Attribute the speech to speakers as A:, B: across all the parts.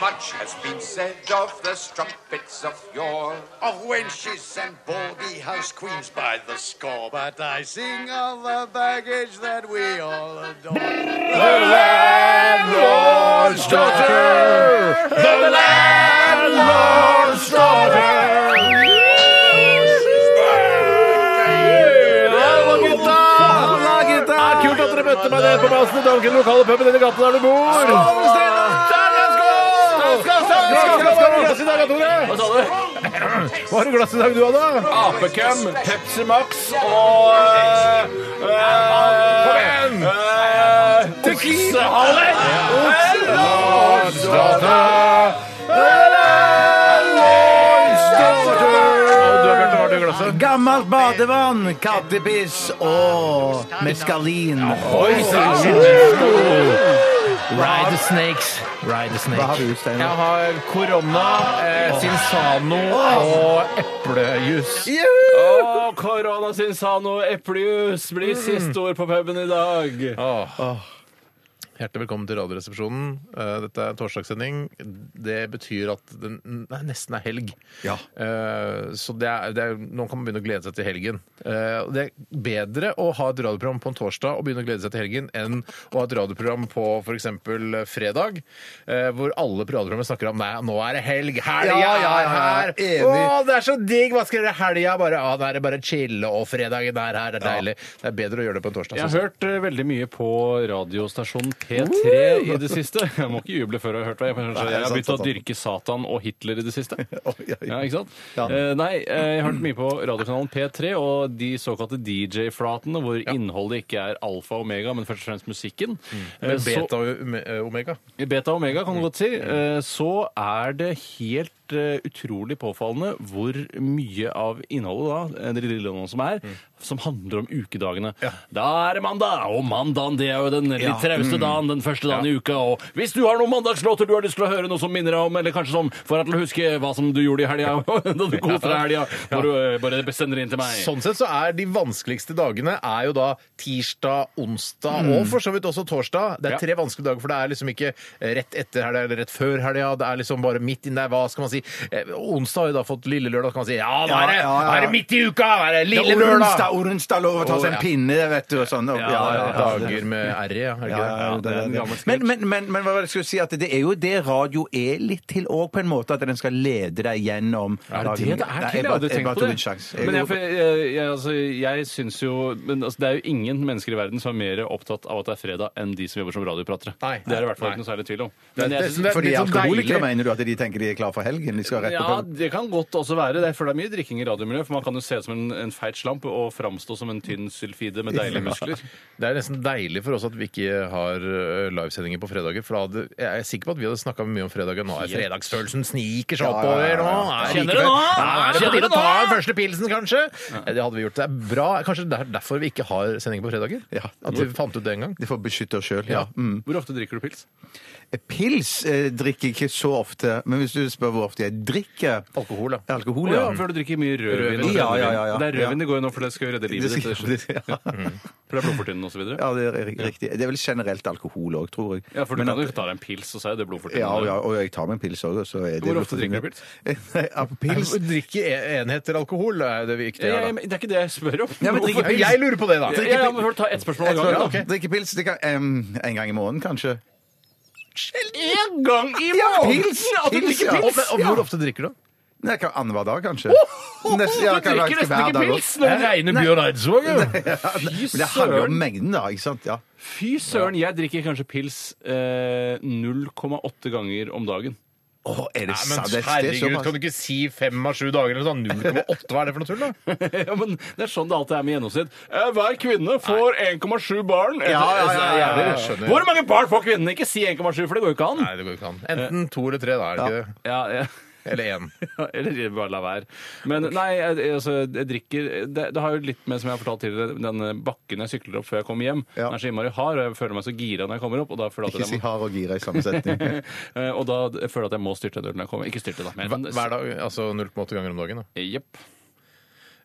A: Much has been said of the strumpets of yore, of wenches and baldy house queens by the score, but I sing of the baggage that we all adore. The landlord's daughter! The landlord's
B: Kult at dere møtte meg nede på plassen i Duncan, lokale puben i den gaten der du bor. Hva sa du? Hva har du glass i dag, du, Anna?
C: Apekøm, Pepsi Max og eh,
B: Kom igjen!
C: eh, Oksehale!
B: Gammelt badevann, kattepiss og meskalin.
C: Oi, sann!
D: Ride the snakes. Ride the
B: Hva
D: snake.
B: har du, Steinar?
C: Jeg har korona, eh, Sinsano og eplejus.
E: Å, korona sinsano eplejus blir siste ord på puben i dag.
C: Hjertelig velkommen til Radioresepsjonen. Eh, Dette er torsdagssending. Det betyr at det nei, nesten er helg.
B: Ja.
C: Eh, Så det er, det er, nå kan man begynne å glede seg til helgen. Eh, og Det er bedre å ha et radioprogram på en torsdag og begynne å glede seg til helgen, enn å ha et radioprogram på f.eks. fredag, eh, hvor alle på radioprogrammet snakker om Nei, nå er det helg! Helga
B: Ja, ja,
C: er
B: ja,
C: her!
B: enig.
C: Å, det er så digg! Hva skal dere i helga? Bare, ah, det er bare chille, og fredagen er her, det er deilig. Det er bedre å gjøre det på en torsdag.
E: Jeg har
C: synes
E: hørt eh, veldig mye på radiostasjonen P3 i det siste. Jeg må ikke juble før jeg har hørt det. Jeg,
C: Nei,
E: kanskje,
C: det er
E: jeg har
C: sant,
E: begynt å
C: sant, sant.
E: dyrke Satan og Hitler i det siste.
C: Oi, oi.
E: Ja, ikke sant?
B: Ja.
E: Eh, Nei, eh, jeg har hørt mye på radiokanalen P3 og de såkalte DJ-flatene, hvor innholdet ikke er alfa og omega, men først og fremst musikken. Eh,
C: Men
E: så-
C: Mm. beta og ome- eh, omega.
E: Beta og omega, kan du godt si. Eh, Så er det helt eh, utrolig påfallende hvor mye av innholdet da, eh, det lille nå som er, som handler om ukedagene. Da er det mandag, og mandagen det er jo den litt trauste dagen, den første dagen i uka. Og hvis du har noen mandagslåter du har lyst til å høre noe som minner deg om, eller kanskje som får deg til å huske hva som du gjorde i helga, da du koser deg i helga, hvor du eh, bare bestemmer inn til meg.
C: Sånn sett så er de vanskeligste dagene er jo da tirsdag, onsdag og for så vidt også torsdag. Det er
E: Ja.
C: tre vanskelige dager, for det er liksom ikke rett etter helga eller rett før helga. Det er liksom bare midt inn der. Hva skal man si? Eh, onsdag har jo da fått lille lørdag, så kan man si ja, nå er det,
B: Ja, ja, ja.
C: nå er det midt i uka! Nå er det
B: Det
C: lille
B: er Orunstad,
C: lørdag!
B: Orunstad lov å ta seg en
C: Å, ja.
B: pinne, vet du, og sånn. Og-
C: Ja,
B: ja, ja, ja.
C: dager med r-e, ja. er det
B: Ja,
C: ikke det?
B: ja, ja, det
E: det er
B: er
E: en gammel
B: det.
E: sketsj.
B: Men, men, men, men hva var det jeg skulle si? At det er jo det radio er litt til òg, på en måte. At den skal lede deg gjennom
E: Er det det det er til? Jeg hadde tenkt på det. Men jeg, for jeg, jeg, altså, jeg syns jo men, altså, Det er jo ingen mennesker i verden som er mer opptatt av at det er fredag, enn de som jobber som radiopratere.
C: Nei.
E: Det er det i hvert fall
C: Nei.
E: ikke noe særlig tvil om.
C: Det er-
E: Men jeg
C: det er-
E: synes-
C: det er-
B: Fordi
C: litt sånn
B: alkoholikere
C: deilig.
B: mener du at de tenker de er klar for helgen? De skal rett
E: ja,
B: på
E: det kan godt også være. Det er, for det er mye drikking i radiomiljøet. For man kan jo se ut som en, en feit slamp og framstå som en tynn sylfide med deilige muskler.
C: Det er nesten deilig for oss at vi ikke har ø, livesendinger på fredager. For da hadde, jeg er sikker på at vi hadde snakka mye om fredagen. Nå er fredagsfølelsen sniker seg
B: Ja, ja, ja,
C: oppover.
B: ja.
C: Nå er
E: Kjenner
C: like
E: du
C: før.
E: nå?
C: Ja, Er det på
E: Kjenner
C: tide
E: du
C: å ta
E: nå?
C: den første pilsen, kanskje? Det hadde vi gjort. Det er bra. Kanskje det er derfor vi ikke har sendinger på fredager?
B: Ja.
C: At vi fant ut det en gang?
B: De får beskytte oss sjøl. Ja.
C: Ja.
B: Mm.
E: Hvor ofte drikker du pils?
B: Pils eh, drikker jeg ikke så ofte, men hvis du spør hvor ofte jeg drikker
C: Alkohol, da.
B: Alkohol,
E: Å
B: ja. Mm.
E: ja, før du drikker mye rødvin. og
B: Ja, ja, ja, ja.
E: brennevin. Det er
B: Ja.
E: rødvin det går i nå, for det skal jo redde
B: Det
E: livet ditt.
B: skal- det- ja.
E: For det er blodfortynnende osv.
B: ja, det er ri- riktig. Det er vel generelt alkohol òg, tror jeg.
E: Ja, for du
B: Men
E: kan jo
B: at-
E: ta deg en pils, og så er det blodfortynnende.
B: ja, ja, og jeg tar meg en pils òg.
E: Hvor ofte drikker du pils?
B: Pils?
C: Drikke e- enheter alkohol, det er det viktige her,
E: Ja, ja,
C: da.
E: men det er ikke det jeg spør om.
B: Ja, men drikker
C: Men Jeg lurer på det, da!
E: Ja, ja, men får du ta ett spørsmål av gangen.
B: Ja,
E: da?
B: ok. Drikke pils det kan, em, en gang i måneden, kanskje?
E: En gang i
B: Ja,
E: måneden!
B: pils,
E: At du
B: pils,
E: drikker
B: ja.
C: Og,
E: pils!
C: men, og hvor ofte drikker du?
B: Nei, jeg kan- Annenhver dag, kanskje. Nest-
E: Du
B: ja, kan-
E: drikker nesten
B: hver
E: ikke
B: dag
E: pils
B: også.
E: når det regner.
C: Reine Bjørn Eidsvåg, jo!
E: Fy
B: Men det handler om
E: søren.
B: mengden, da. ikke sant? Ja.
E: Fy søren, jeg drikker kanskje pils eh, 0,8 ganger om dagen.
B: Åh, er
C: Nei,
B: det
C: men
B: sant? Det, det er
C: herregud,
B: såpass.
C: kan du ikke si fem av sju dager eller sånn? 0,8, hva er det for noe tull, da?
E: ja, men Det er sånn det alltid er med gjennomsnitt. Eh, hver kvinne får 1,7 barn.
B: Ja, ja, ja, ja, ja,
C: jeg skjønner.
E: Hvor mange barn får kvinnene? Ikke si 1,7, for det går jo ikke an.
C: Nei, det går jo ikke an. Enten to eller tre, da er det ikke det?
E: Ja, ja.
C: Eller én.
E: Eller bare la være. Men nei, jeg, jeg- altså, jeg drikker det, det har jo litt med, som jeg har fortalt tidligere, den eh, bakken jeg sykler opp før jeg kommer hjem.
F: Ja.
E: Den er så innmari hard, og jeg føler meg så gira når jeg kommer opp. Og da føler jeg
F: Ikke
E: at
F: si
E: jeg må,
F: hard og gira i samme setning.
E: Eh, og da føler jeg at jeg må styrte en øl når jeg kommer. Ikke styrte, da. Men,
C: Hver hver dag, altså 0,8 ganger om dagen. Da.
E: Jepp.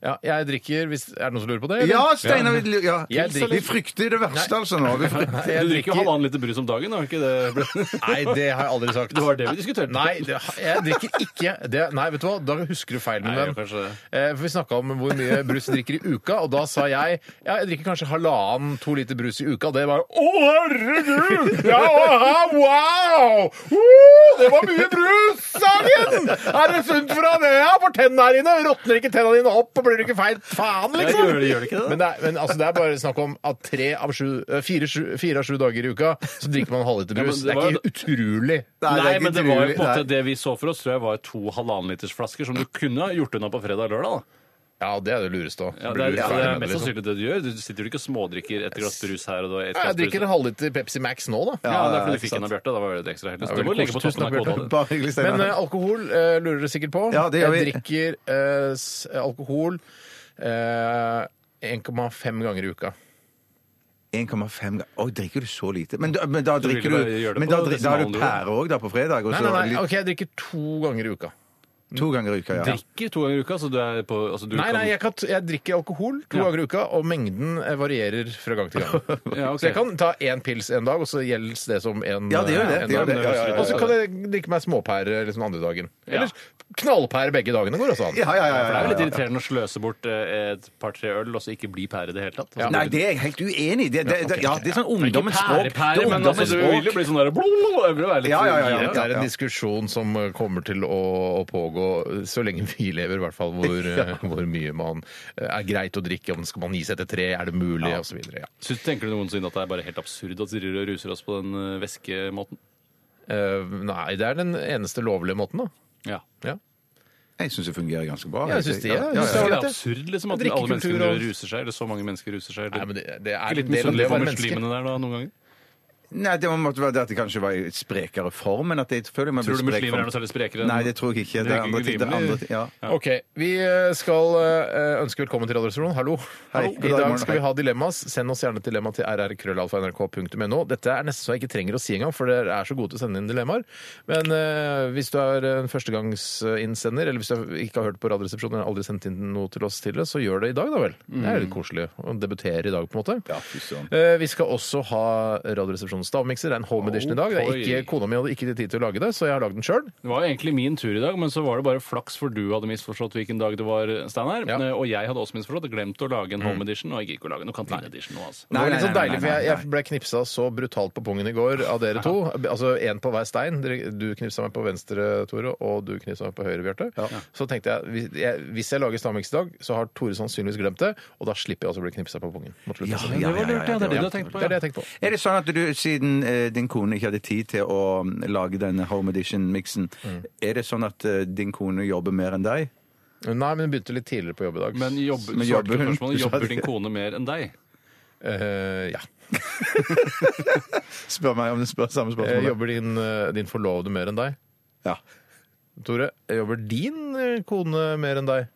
C: Ja, jeg drikker hvis Er det noen som lurer på det? eller?
F: Ja, Steinar! vi- Ja.
C: Jeg drikker-
F: Vi frykter det verste, altså, nå. Vi frykter.
C: Nei,
E: Du
C: jeg
E: drikker jo halvannen liter brus om dagen, har ikke det?
C: Nei, det har jeg aldri sagt.
E: Det var det vi diskuterte.
C: Nei, det, jeg drikker ikke det. Nei, vet du hva, da husker du feil med
E: Nei,
C: den.
E: kanskje det.
C: Eh, For vi snakka om hvor mye brus du drikker i uka, og da sa jeg ja, jeg drikker kanskje halvannen, to liter brus i uka. Og det var jo Å, herregud! Ja, aha, wow! Uh, det var mye brus, Sagen! Er det sunt for deg, det? Ja, for tennene her inne. Råtner ikke tennene dine opp, og blir du ikke feil? Faen,
E: Ja,
C: liksom!
E: gjør det- gjør det ikke det, da?
C: Men det er, men altså, det er bare snakk om at tre av sju, eh, fire, sju, fire av sju dager i uka så drikker man en halvliter
E: Ja, men
C: brus.
E: det
C: det,
E: var
C: er ikke utrolig.
F: Nei, det er
E: Nei,
F: ikke
E: men det var jo
F: utrolig.
E: på en måte
F: Nei.
E: det vi så for oss, tror jeg var to halvannenlitersflasker som du kunne ha gjort unna på fredag og lørdag. da.
C: Ja, det er det lureste òg.
E: Ja, det, er, det er
C: liksom-
E: mest sannsynlig det du gjør. Du sitter jo ikke og smådrikker et glass brus her og da et glass
C: Jeg
E: brus.
C: drikker en halvliter Pepsi Max nå, da.
E: Ja, det er fordi du fikk en av Bjarte. Da var det litt ekstra heldig. Så
C: Ja,
E: du må
C: veldig
E: legge på
C: koselig.
E: toppen av
C: Tusen takk,
E: kvoten.
F: Bare hyggelig, Steinar.
C: Men eh, alkohol eh, lurer dere sikkert på.
F: Ja, det gjør
C: jeg
F: vi.
C: drikker eh, s- alkohol eh, 1,5 ganger i uka.
B: 1,5 ganger Oi, drikker du så lite? Men da, men da
E: vil
B: drikker
E: du
B: du
E: gjøre det
B: Men
E: på
B: da, dri- da har
E: desimalen,
B: du
E: du.
B: pære òg, da, på fredag? Og
C: Nei,
B: så
C: nei, nei,
B: litt-
C: OK, jeg drikker to ganger i uka.
B: to ganger i uka, ja.
E: Drikker to ganger i uka, så du er på altså, du
C: Nei,
E: kan,
C: nei, jeg, kan, jeg drikker alkohol to
E: Ja.
C: ganger i uka, og mengden eh, varierer fra gang til gang.
E: Ja, ok.
C: Så jeg kan ta én pils en dag, og så gjelder det som en
B: Ja, det gjør det,
C: en
B: det gjør
C: dag.
B: det, ja, ja, ja, ja.
C: Og så kan jeg drikke meg småpære liksom andre dagen. Eller knallpære begge dagene går også an.
F: Ja, ja, ja, ja,
E: For det er
F: ja,
E: jo litt
F: ja.
E: irriterende å sløse bort eh, et par-tre øl og så ikke bli pære i det hele tatt. Altså,
B: Nei, det er jeg helt uenig i. Det, det, det, ja, det er sånn ungdommens språk.
E: Pære, pære,
B: Det er
E: men altså,
B: ungdommens
E: du vil jo
B: språk.
E: bli sånn der blå, jeg vil jo være litt
F: Ja, ja, ja, ja.
E: gira.
C: Det er en diskusjon som eh, kommer til å, å pågå eh, så lenge vi lever, i hvert fall hvor, eh, hvor mye man eh, er greit å drikke, om skal man gi seg etter tre, er det mulig, og så videre. Ja.
E: Syns- Tenker du noensinne at det er bare helt absurd at vi driver og ruser oss på den eh, væskemåten?
C: Eh, nei, det er den eneste lovlige måten, da.
E: Ja.
C: Ja.
F: Jeg syns det fungerer ganske bra.
C: Ja, jeg synes det, ja.
F: Ja,
C: Jeg
F: ja,
C: synes
E: Det
F: ja.
E: er
C: det
E: det
C: er
E: absurd liksom, at
C: Drikkekultur
E: alle mennesker driver og
C: og-
E: ruser seg, eller så mange mennesker ruser seg.
C: Nei,
E: Eller...
C: men det, det
E: Ikke
C: er
E: litt
C: en del av det
E: misunnelig
C: å
E: på
C: være menneske.
E: muslimene der da, noen ganger?
F: Nei, det måtte være det at det kanskje var i et sprekere form. Men at jeg føler meg
E: Tror du muslimer er noe særlig sprekere? enn-
F: Nei, det tror jeg ikke. Det
E: Det
F: er
E: er
F: andre ting. Det er
E: rimelig.
F: andre ting. Ja.
C: Ok, Vi eh, skal eh, ønske velkommen til Radioresepsjonen. Hallo.
F: Hei.
C: Hallo.
F: God
C: I
F: dag,
C: dag
F: morgen.
C: skal vi
F: Hei.
C: ha dilemmas. Send oss gjerne dilemma til rrkrøllalfa.nrk.no. Dette er nesten så jeg ikke trenger å si engang, for dere er så gode til å sende inn dilemmaer. Men eh, hvis du er en førstegangsinnsender, eller hvis du ikke har hørt på Radioresepsjonen eller aldri sendt inn noe til oss tidligere, så gjør det i dag, da vel. Det er litt koselig å debutere i dag, på en måte.
F: Mm. Ja, fy søren.
C: Eh, Vi skal også ha Radioresepsjonens stavmikser. Det er en
F: Oh,
C: home edition i dag. Det er
E: Oi.
C: ikke, kona mi hadde ikke tid til å lage det, så jeg har lagd den sjøl.
E: Det var jo egentlig min tur i dag, men så var det bare flaks, for du hadde misforstått hvilken dag det var, Steinar.
C: Ja.
E: Eh, Og jeg hadde også misforstått. Glemt å lage en home edition, og jeg gikk ikke å lage noen kantineedition nå, altså.
C: det var litt
F: nei,
C: sånn
F: nei,
C: deilig,
F: nei,
C: for jeg,
F: nei,
C: jeg ble knipsa så brutalt på pungen i går av dere to. Altså én på hver stein. Dere- Du knipsa meg på venstre, Tore, og du knipsa meg på høyre, Bjarte. Så tenkte jeg hvis jeg, hvis jeg lager stavmiks i dag, så har Tore sannsynligvis glemt det, og da slipper jeg også å bli knipsa på pungen. Mot slutten.
B: Ja,
C: Så
B: ja, ja, ja, ja,
E: Det er det du
B: ja.
E: har tenkt på,
C: Det er
E: ja.
C: det jeg tenkte på.
B: Er det sånn at du, siden eh, din kone ikke hadde tid til å mm, lage denne home edition-miksen, er det sånn at eh, din kone jobber mer enn deg?
C: Nei, men hun begynte litt tidligere på jobb i dag.
E: Men jobber,
F: Men
E: svarte
F: jobber
E: ikke
F: hun?
E: spørsmålet.
F: Du sa
E: jobber
F: det.
E: din kone mer enn deg?
C: Eh, ja.
F: Spør meg om du spør samme
C: Eh,
F: spørsmål.
C: jobber din, eh, din forlovede mer enn deg?
F: Ja.
C: Tore, jobber din eh, kone mer enn deg?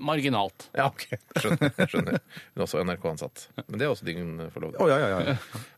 E: Marginalt.
C: Ja, OK. Skjønner. skjønner. Hun er også NRK-ansatt. Men det er også din eh, forlovede.
F: Å, ja, ja, ja.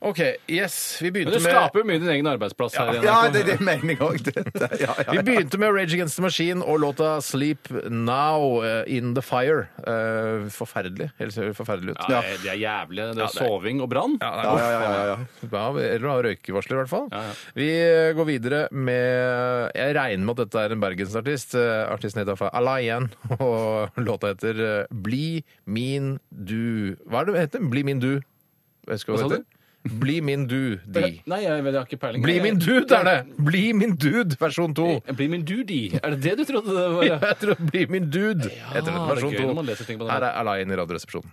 C: OK, yes. Vi
E: Men
C: begynte
E: du
C: med
E: skaper jo mye din egen arbeidsplass her i NRK.
F: ja det, det mener jeg òg. Ja, ja,
C: Vi
F: ja.
C: begynte med Rage Against the Machine og låta 'Sleep Now eh, In The Fire'. Eh, forferdelig. Helt ser det forferdelig ut.
E: Ja, det er jævlig. Det er soving og brann.
F: Ja, ja, ja, ja, ja.
C: Ja, eller ha røykevarsler, i hvert fall.
E: ja.
C: Vi eh, går videre med Jeg regner med at dette er en bergensartist. Eh, Artisten heter iallfall Alayan, og låta heter eh, 'Bli min du'. Hva er det det heter? 'Bli min du'? Jeg husker hva
E: Hva sa
C: det heter. 'Bli min du', de.
E: Nei, jeg, vet- jeg har ikke peiling.
C: Bli min dude, er det! Bli min dude, versjon to.
E: Bli min dude. Er det det du trodde det var?
C: Ja, jeg tror det blir min dude.
E: Ja,
C: Etter dette,
E: det er
C: versjon
E: gøy
C: to.
E: når man leser ting på den
C: Her er Alain i Radioresepsjonen.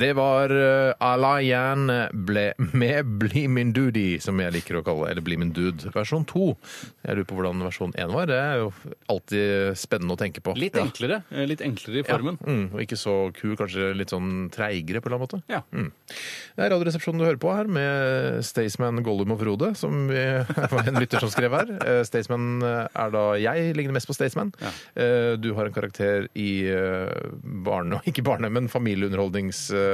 C: Det var uh, Alayan ble med Bli min dude, som jeg liker å kalle Eller Bli min dude, versjon 2. Jeg lurer på hvordan versjon 1 var. Det er jo alltid spennende å tenke på.
E: Litt enklere, eh, litt enklere i formen.
C: Mm, og ikke så kul, kanskje litt sånn treigere på en eller annen måte.
E: Ja.
C: Det er Radioresepsjonen du hører på her, med Staysman, Gollum og Frode, som vi, det var en lytter som skrev her. Eh, Staysman er da jeg, ligner mest på Staysman. Eh, Du har en karakter i eh, barne... Ikke barne, men familieunderholdningsprogrammet eh,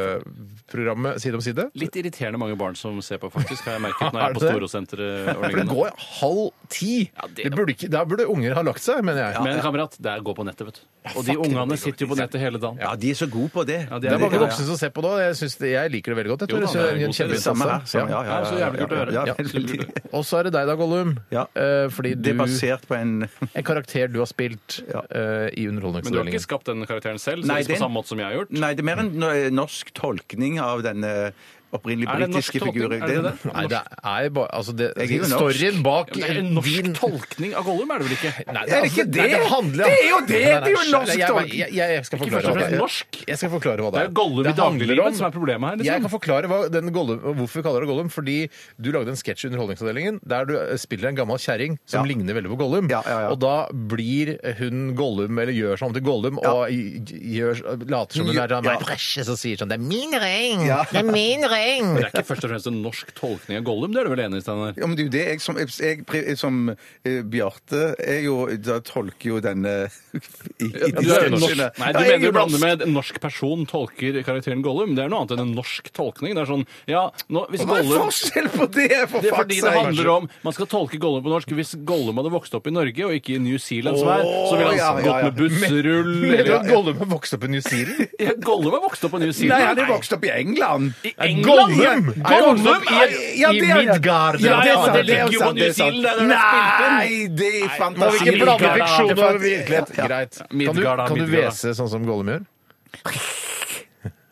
C: Side om side.
E: Litt irriterende mange barn som ser på, faktisk, har jeg merket når
C: Er
E: jeg er på
C: det det?
E: Storosenteret. og
C: For det
E: lignende.
C: går halv ti!
E: Ja, det-
C: det burde ikke, da burde unger ha lagt seg, mener jeg.
E: Men kamerat, det er gå på nettet, vet du. Og de
C: fuck,
E: ungene
C: det
E: sitter jo på nettet hele dagen.
B: Ja, de er så gode på det.
E: Ja,
C: det er mange
E: ja, ja.
C: voksne som ser på det, og jeg, synes det, jeg liker det veldig godt. Jeg
E: Jo
C: tror
E: da,
C: det er
E: det er en
C: en
E: god serie.
C: kjempeinnsats,
B: Samme her.
C: ja.
B: Samme, ja, ja,
E: Ja, så jævlig kult å høre.
B: Ja,
E: Ja,
B: veldig.
C: Og så er det deg da, Gollum.
B: Ja.
C: Eh, Fordi
B: Det er
C: du
B: basert på en
C: En karakter du har spilt
B: Ja.
C: eh, i
E: Men du har ikke
C: Underholdningsavdelingen.
E: skapt den karakteren selv? så
B: Nei,
E: det
B: den-
E: er på samme måte som jeg har gjort?
B: Nei, det er mer en no- norsk tolkning av denne opprinnelig
E: Er det en norsk
B: britiske
E: tolkning?
B: figuren.
E: Er det det?
C: Nei, det er bare altså det,
B: Jeg er jo norsk.
C: Storyen bak
E: Ja, men det er en norsk tolkning av Gollum, er det vel ikke?
C: Nei, altså,
B: Er det ikke det?
C: Nei, det, handler,
B: Det er jo det!
C: Nei, nei,
B: Det er jo
C: nei,
B: norsk
C: jeg- jeg-
B: tolkning.
C: Jeg, jeg, jeg skal
E: Ikke først
C: forklare hva
E: og
C: det
E: fremst
C: er.
E: norsk.
C: Jeg skal forklare hva det
E: Det
C: er.
E: er jo Gollum i
C: Det handler om-
E: dagliglivet som er problemet her.
C: Jeg
E: Liksom.
C: kan forklare hva den Gollum, hvorfor vi kaller det Gollum. Fordi du lagde en sketsj i Underholdningsavdelingen der du eh, spiller en gammel kjerring som
B: Ja.
C: ligner veldig på Gollum.
B: Ja, ja, ja.
C: Og da blir hun Gollum, eller gjør seg om til Gollum, og gjør, later som hun er sånn
B: Ja.
C: «My precious», og sier sånn Det er min ring!
B: Ja.
C: Det er min ring!
E: Det er ikke først og fremst en norsk tolkning av Gollum, det er du vel enig i, Steinar?
B: Ja, men det er jo det jeg som, jeg, jeg, som eh, Bjarte er jo, Da tolker jo denne i, i
E: Ja,
B: de
E: Du, er jo
B: sketsjene.
E: norsk. Nei, du
B: Ja, jeg er
E: mener
B: jo
E: du blander
B: norsk.
E: med en norsk person tolker karakteren Gollum. Det er noe annet enn en norsk tolkning. Det er sånn, ja, nå, hvis
B: Hva er
E: Gollum...
B: forskjell på det? For
E: Det er fordi det
B: fuck's sake?
E: handler om Man skal tolke Gollum på norsk. Hvis Gollum hadde vokst opp i Norge og ikke i New Zealand, som er, så ville han
B: Åh, ja, ja,
E: gått
B: ja.
E: med bussrull
C: Mener du
E: eller
C: at Gollum har vokst opp i New Zealand?
E: Ja, Gollum er vokst opp på New
B: Nei,
E: Zealand.
B: han er vokst opp i England.
E: I England!
C: Gollum!
E: Gollum
C: Er vokst opp i,
B: Ja,
C: i
B: det er-
C: Midgard.
E: Ja,
B: det er sant,
E: det
B: det er
E: ligger jo på
B: sant, det
E: New
B: er sant.
E: Zealand. der den er spilt inn.
B: Nei, det er
C: Må vi
B: fantasi.
C: ikke blande
E: Midgard,
C: fiksjon
E: da.
C: og virkelighet? Greit. Kan du,
E: Midgard, da,
C: kan du
E: Midgard, da.
C: hvese sånn som Gollum gjør?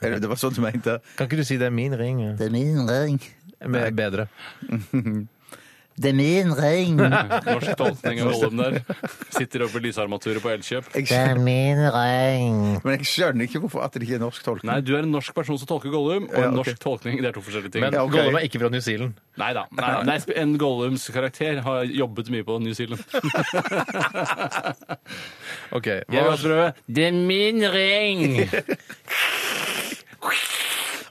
B: Er det- Det var sånn du mente.
C: Kan ikke du si 'det er min ring'?
G: Det er min ring.
C: Med bedre.
G: Det er min ring.
E: Norsk tolkning av Gollum der. Sitter oppe i lysarmaturet på Elkjøp.
G: Det er min ring.
B: Men jeg skjønner ikke hvorfor at det ikke er norsk tolkning.
E: Nei, du er en norsk person som tolker Gollum, og
B: Ja,
E: en
B: ok.
E: norsk tolkning det er to forskjellige ting.
C: Men
B: Ja, ok.
C: Gollum er ikke fra New Zealand.
E: Nei da. Nei, nei, en Gollums karakter har jobbet mye på New Zealand.
C: Ok,
E: Jeg vil
C: hva,
E: også prøve. Det er min ring!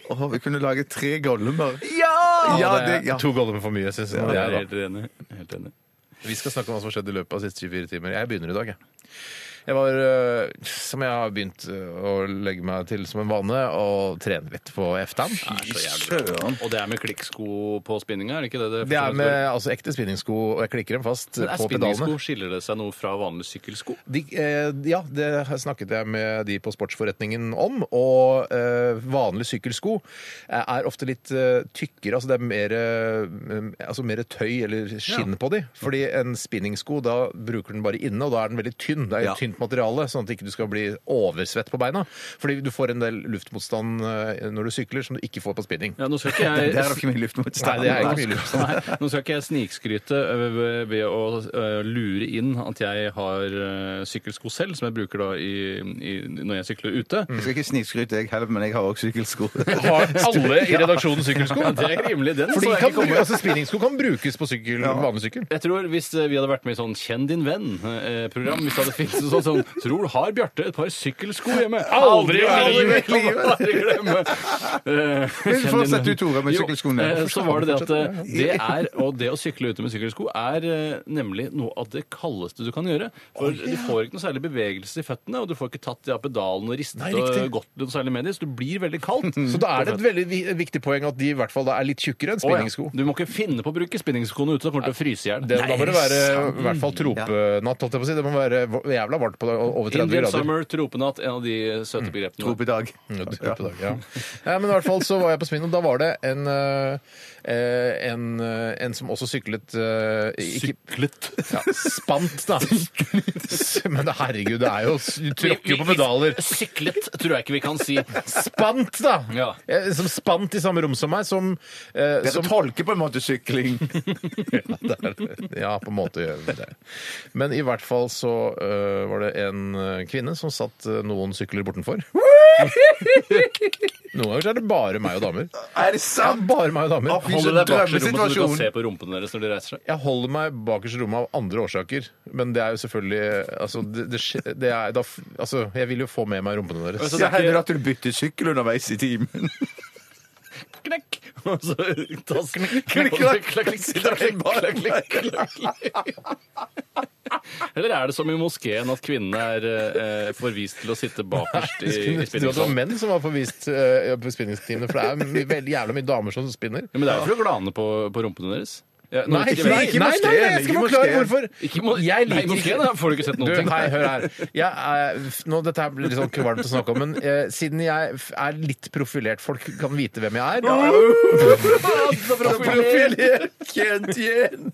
B: Åh, vi kunne lage tre gollumer.
C: ja,
B: Ja,
C: det,
B: det- ja.
C: To Gollum for mye, syns jeg.
E: Jeg
C: Ja,
E: er
C: da.
E: helt enig. Helt enig.
C: Vi skal snakke om hva som har skjedd i løpet av de siste 24 timer. Jeg begynner i dag, jeg. Jeg var, øh, som jeg har begynt øh, å legge meg til som en vane, og trene litt på eftan.
B: Søren.
E: Og det er med klikksko på spinninga, er det ikke det?
C: Det er med altså, ekte spinningsko, og jeg klikker dem fast
E: Men er
C: på pedalene.
E: spinningsko, skiller det seg noe fra vanlige sykkelsko?
C: De, eh, ja, det har snakket jeg med de på sportsforretningen om. Og eh, vanlige sykkelsko er, er ofte litt eh, tykkere. Altså det er mer, eh, altså mer tøy eller skinn på de. Fordi en spinningsko, da bruker den bare inne, og da er den veldig tynn. Det er
B: Ja.
C: et tynt materiale, sånn at ikke du skal bli oversvett på beina. Fordi du får en del luftmotstand eh, når du sykler som du ikke får på spinning.
E: Ja, nå skal ikke
B: Der er
E: jeg
B: det ikke mye luftmotstand.
C: Nei, det er
E: Nå
C: ikke mye luft.
E: skal, nei, nå skal ikke jeg snikskryte ø, ved- ved å ø, lure inn at jeg har ø, sykkelsko selv, som jeg bruker da i, i, når jeg sykler ute.
B: Jeg skal ikke snikskryte, jeg heller, men jeg har også sykkelsko.
C: Har alle i redaksjonen sykkelsko?
E: Ja, det er rimelig. Den
C: Fordi
E: så jeg
C: kan,
E: ikke komme.
C: altså Spinningsko kan brukes på sykkel, vanlig sykkel.
E: Jeg tror Hvis ø, vi hadde vært med i sånn Kjenn din venn-program Hvis det hadde finnes en sånn, sånn Tror har Bjarte et par sykkelsko hjemme?
C: Aldri i
E: Aldri Aldri glemme! Eh,
B: Men
E: kjenn
B: fortsett du,
E: din
B: Tore, med
E: Jo,
B: sykkelskoene.
E: eh, Så var det det at eh, det er, og det å sykle ute med sykkelsko er eh, nemlig noe av det kaldeste du kan gjøre. For du får ikke noe særlig bevegelse i føttene, og du får ikke tatt de av pedalen og ristet
C: Nei,
E: og
C: riktig.
E: gått noe særlig med de, så du blir veldig kaldt.
C: Så da er det et veldig vi- viktig poeng at de i hvert fall da er litt tjukkere enn spinningsko.
E: Du må ikke finne på å bruke spinningskoene ute, da kommer du til å fryse i hjel.
C: Det, da må det være i hvert fall tropenatt, holdt jeg på å si. Det må være vo- jævla varmt på det, o- over 30
E: Indian
C: grader.
E: summer, tropenatt, en av de søte begrepene.
B: Rop i dag.
C: Ja, tropedag, ja. Nei, men i hvert fall så var jeg på spinn, og da var det en, eh, eh, en, eh, en som også syklet eh, ikke,
E: Syklet.
C: ja, Spant, da. Men herregud, det er jo Du tråkker jo på pedaler.
E: Syklet tror jeg ikke vi kan si.
C: Spant, da!
E: Ja.
C: Eh, Som spant i samme rom som meg, som, eh,
B: Dette
C: som
B: tolker på en måte sykling.
C: Ja, det er det. ja, på en måte gjør vi det. Men i hvert fall så øh, eh, var det en øh, kvinne som satt øh, noen sykler bortenfor. Noen dager så er det bare meg og damer.
B: Er det
C: Ja,
B: sant?
C: bare meg og damer.
B: Å, fy
E: Holder deg bak i rommet så du kan
B: drømmesituasjon.
E: se på rumpene deres når de reiser seg.
C: Jeg holder meg bakerst i rommet av andre årsaker, men det er jo selvfølgelig Altså, det, det, skje- det er, da, f- altså jeg vil jo få med meg rumpene deres.
B: Så
E: Altså, det
B: det
E: er
B: hender
E: ikke
B: at du bytter sykkel underveis i timen.
E: knekk! Og så tas
B: knekk, knekk,
E: knekk, Eller er det som i moskeen at kvinnene er eh, forvist til å sitte bakerst i,
C: Skulle
E: i
C: tro at det var
E: spinningsalen?
C: menn som var forvist eh, på spinningstimene, for det er my, veldig jævla mye damer som spinner.
E: Ja, men det er jo for å glane på, på rumpene deres. Ja, når
C: Nei,
E: du
C: ikke,
E: ikke
C: nei,
E: vet-
C: nei, nei, nei, jeg skal
B: Ikke
C: forklare
B: moskeen.
C: hvorfor.
E: Ikke må,
C: Jeg
E: nei,
C: liker
E: moskeen, da får du ikke sett
C: Du,
E: noen ting.
C: hei, hør her. Jeg er, nå, dette her blir litt sånn kvalmt å snakke om, men eh, siden jeg f- er litt profilert, folk kan vite hvem jeg er
B: Kjent igjen!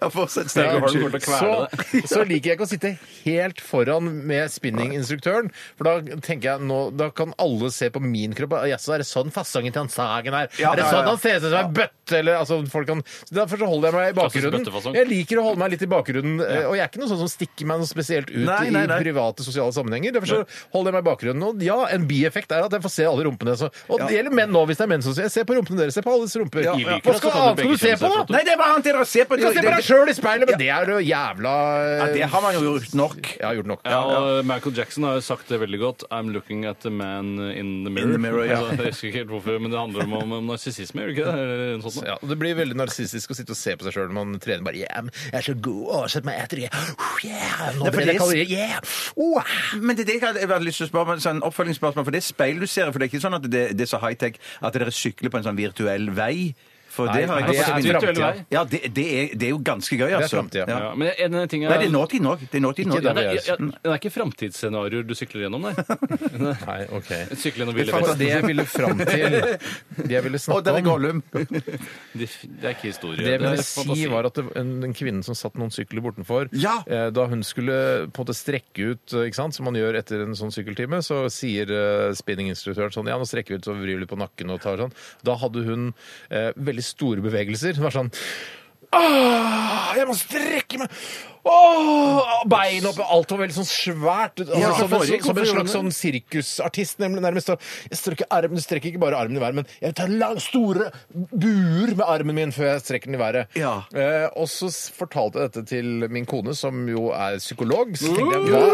B: Ja, fortsett,
E: Ja,
B: Steinar.
E: har du noe til å
B: Unnskyld.
E: kvele det?
C: så, så liker jeg ikke å sitte helt foran med spinninginstruktøren. For da tenker jeg nå, da kan alle se på min kropp. og, Jaså, er det sånn fasongen til han Sagen er?
B: Ja,
C: er det
B: ja,
C: sånn
B: ja.
C: han ser ut som en bøtte? Eller, altså, folk kan, så derfor så holder jeg meg i
E: Klassisk
C: bakgrunnen.
E: bøttefasong.
C: Jeg liker å holde meg litt i bakgrunnen. eh, Og jeg er ikke noe sånn som stikker meg noe spesielt ut
B: Nei, nei, nei.
C: i private sosiale sammenhenger. Derfor så holder jeg meg i bakgrunnen. Og ja, en bieffekt er at jeg får se alle rumpene. Så, og det gjelder menn nå, hvis det er menn som ser. Jeg ser på rumpene deres. Se på alles rumper.
B: Ja,
E: ja.
C: Hva skal
E: Så kan
C: annet
E: du
C: skal
E: begge
C: du se
E: kjønn se
C: på,
E: på
C: da?
E: to.
B: Nei, det er bare annet dere ser på!
C: Du skal se på deg sjøl i speilet, men det er jo jævla
B: Ja, det har man jo gjort nok.
C: Jeg har gjort nok.
E: Ja, og Michael Jackson har jo sagt det veldig godt. I'm looking at the man in the mirror.
B: In the mirror, ja.
E: Altså, jeg husker ikke helt hvorfor, men det handler om, om narsissisme, gjør det ikke det? Eller noe sånt noe.
C: Ja, og det blir veldig narsissistisk å sitte og se på seg sjøl når man trener. bare, yeah, jeg er så god, å, sett meg etter, yeah, oh, yeah, nå
B: Nei,
C: brenner
B: for det
C: jeg
B: er-
C: kalorier, yeah, oh, ah.
B: Men det er det jeg hadde jeg hadde lyst til å spørre om, sånn oppfølgingsspørsmål, for det er speil du ser, for det er ikke sånn at det, det er så high-tech at dere sykler på en sånn virtuell vei? For det har jeg
C: det
B: ikke
C: er
B: sett.
E: virtuell
C: framtida.
E: vei.
B: Ja, det, det, er, det er jo ganske gøy, altså.
C: fremtiden.
B: Ja.
E: Ja, men en ting
B: Nei, det er nåtid nok. Det er nåtid nok.
E: Ja,
C: da
E: det,
C: vi
E: er,
C: er.
E: ja, det er ikke framtidsscenarioer du sykler gjennom, nei.
C: Nei, ok.
E: Sykle gjennom
C: Det
E: Ville
C: var
E: Vesten.
C: det jeg ville fram til. Det jeg ville
B: Og
C: snakke
B: der er
C: om,
B: Gollum.
E: Det det er ikke historie.
C: det jeg
E: er
C: ville si
E: fantasi.
C: var at det, en, en kvinne som satt noen sykler bortenfor,
B: Ja.
C: eh, da hun skulle på en måte strekke ut, eh, ikke sant, som man gjør etter en sånn sykkeltime, så sier eh, spinninginstruktøren sånn, ja, nå strekker vi ut, så vrir vi litt på nakken og tar sånn. Da hadde hun eh, veldig store bevegelser. Hun var sånn, Åh, jeg må strekke meg! Åh, bein opp, alt var veldig sånn svært. Altså,
B: Ja,
C: som, en,
B: foregikk,
C: som en
B: hvorfor
C: slags sånn sirkusartist, nemlig nærmest. da. Jeg strekker, armen, strekker ikke bare armen i været, men jeg tar lang, store buer med armen min før jeg strekker den i været.
B: Ja.
C: Eh, og så s- fortalte jeg dette til min kone, som jo er psykolog. Så tenkte jeg, hva?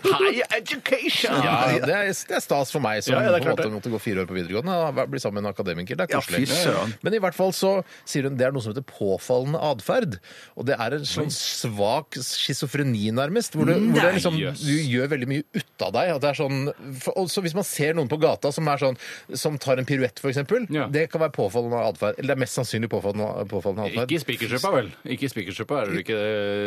B: High education!
C: Ja, det er, det er stas for meg som
B: Ja, ja, det
C: på
B: er
C: en
B: klart
C: måte
B: det.
C: måtte gå fire år på videregående og bli sammen med en akademiker. Det er
B: Ja,
C: koselig.
B: fy søren.
C: Men i hvert fall så sier hun det er noe som heter påfallende atferd. Og det er en sånn svak schizofreni, nærmest. Hvor, du,
B: Mm.
C: hvor det er liksom,
E: jøss.
C: du gjør veldig mye ut av deg. At det er sånn, for, og så hvis man ser noen på gata som, er sånn, som tar en piruett, f.eks.,
E: Ja.
C: det kan være påfallende atferd. Eller det er mest sannsynlig påfallende, påfallende atferd.
E: Ikke i spikersuppa, vel? Ikke i spikersuppa er det ikke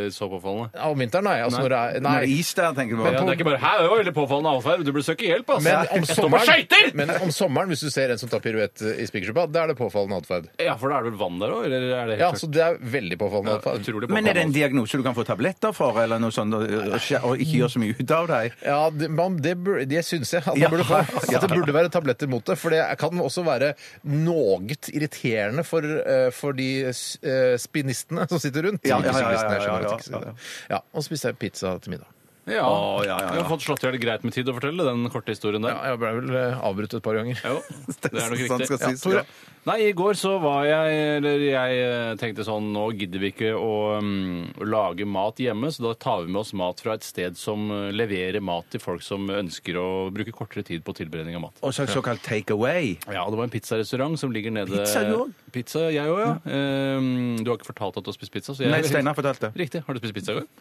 E: eh, så påfallende.
C: Ja, om vinteren, nei. Altså,
E: Nei.
C: Når det er,
B: Nei,
C: nei.
B: is der, tenker du
E: Ja,
B: på.
E: det er ikke bare 'hæ, det var veldig påfallende atferd', du burde søke hjelp, altså!
C: Men om,
E: Stå på
C: sommeren,
E: skøyter!
C: men om sommeren, hvis du ser en som tar piruett i spikersuppa, da er det påfallende atferd.
E: Ja, for da er det vel vann der òg, eller er det
C: Ja,
E: helt
C: så det er veldig påfallende. atferd.
E: utrolig
B: Men er det en
E: påfallende.
B: diagnose du kan få tabletter for, eller noe sånt, og, og ikke gjøre så mye ut av deg?
C: Ja, det, man, det, bur- det syns jeg at,
B: Ja.
C: man burde få, at det burde være tabletter mot det. For det kan også være noe irriterende for, eh, for de s- eh, spinistene som sitter rundt.
B: Ja, ja,
C: Ikke
B: ja, ja,
C: syklistene, jeg skjønner
B: ja,
C: at jeg ikke
B: ja,
C: sier
B: ja.
C: det. ja, og spiste jeg pizza til middag.
E: Ja.
B: Å, ja, ja, ja.
E: Jeg har fått slått i hjel greit med tid å fortelle den korte historien der.
C: Ja, jeg ble vel eh, avbrutt et par ganger.
E: Jo, det er nok
B: Sånn
E: riktig.
B: skal sies,
E: Tore.
B: ja.
E: Nei, i går så var jeg Eller jeg eh, tenkte sånn Nå gidder vi ikke å, mm, å lage mat hjemme, så da tar vi med oss mat fra et sted som eh, leverer mat til folk som ønsker å bruke kortere tid på tilberedning av mat.
B: Og så såkalt take away.
E: Ja, det var en pizzarestaurant som ligger nede
B: Pizza, du også?
E: Pizza, jeg òg, ja. Eh, Du har ikke fortalt at du har spist pizza? Så jeg...
B: Nei, Steinar fortalte.
E: Riktig. Har du spist pizza i går?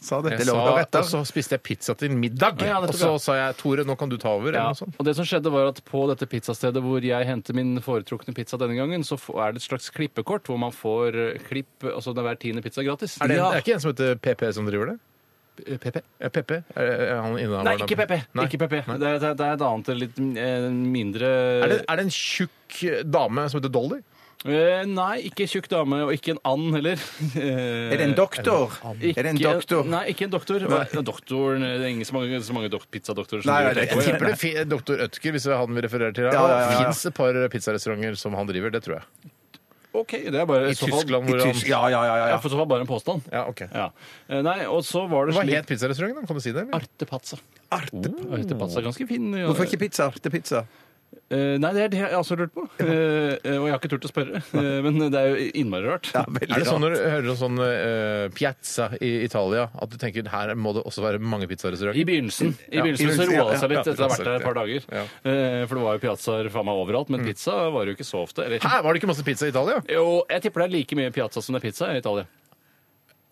B: Sa det.
C: Jeg
B: Det
C: sa,
B: lå der
C: og
B: etter.
C: så spiste jeg pizza til middag,
E: Ja,
C: og
E: nettopp,
C: så
E: ja.
C: sa jeg Tore, nå kan du ta over.
E: Ja,
C: Eller noe sånt.
E: og det som skjedde var at På dette pizzastedet hvor jeg henter min foretrukne pizza denne gangen, så f- er det et slags klippekort hvor man får eh, klipp altså det er hver tiende pizza gratis.
C: Er det, en,
E: Ja.
C: er det ikke en som heter PP som driver det?
E: Eh, PP?
C: Ja, PP? Er, er han innehaveren
E: Nei,
C: av-
E: ikke PP.
C: Nei.
E: Ikke PP. Det, er, det er et annet litt eh, mindre
C: Er det,
B: Eh,
C: er det en tjukk eh, dame som heter Dolly?
E: Eh, Nei, ikke tjukk dame, og ikke en and heller.
B: Er det en doktor? Er det en doktor?
E: Nei, ikke en doktor. Hva- Doktoren, eh, det er ingen så mange, så mange dok pizzadoktorer som
B: Nei,
E: driver
B: nei,
E: det.
B: nei.
C: tipper det fi- Dr. Ødker, hvis det er han vi refererer til her.
B: Ja, ja, ja, ja.
C: Fins det et par pizzarestauranter som han driver? Det tror jeg.
E: OK, det er
C: I
E: bare
C: Tyskland.
B: I
C: Hvor han,
B: tysk, ja, ja, ja, ja,
E: Ja,
B: ja.
E: for så var det bare en påstand.
C: ja, ok.
E: Ja. Eh, Nei, og så var det
C: Hva
E: slik
C: het pizzarestauranten? da? Kan du si det? eller?
E: Artepazza. Artepazza er ganske fin. ja.
B: Hvorfor ikke pizza? Det er pizza.
E: Eh, nei, det er det jeg også har lurt på. Eh, eh, og jeg har ikke turt å spørre. Eh, men det er jo innmari rart.
C: Er det sånn når du hører om sånn eh, piazza i Italia, at du tenker her må det også være mange pizzarestauranter?
E: I begynnelsen I begynnelsen så
C: begynnelsen, ja,
E: roa det seg
C: ja,
E: litt
C: ja,
E: etter å ha vært
C: ja.
E: der et par dager.
C: Ja. Mm.
E: Eh, for det var jo piazzaer faen meg overalt, men pizza var det jo ikke så ofte. Eller,
C: Hæ, var det ikke masse pizza i Italia?
E: jo, jeg tipper det er like mye piazza som det er pizza i Italia.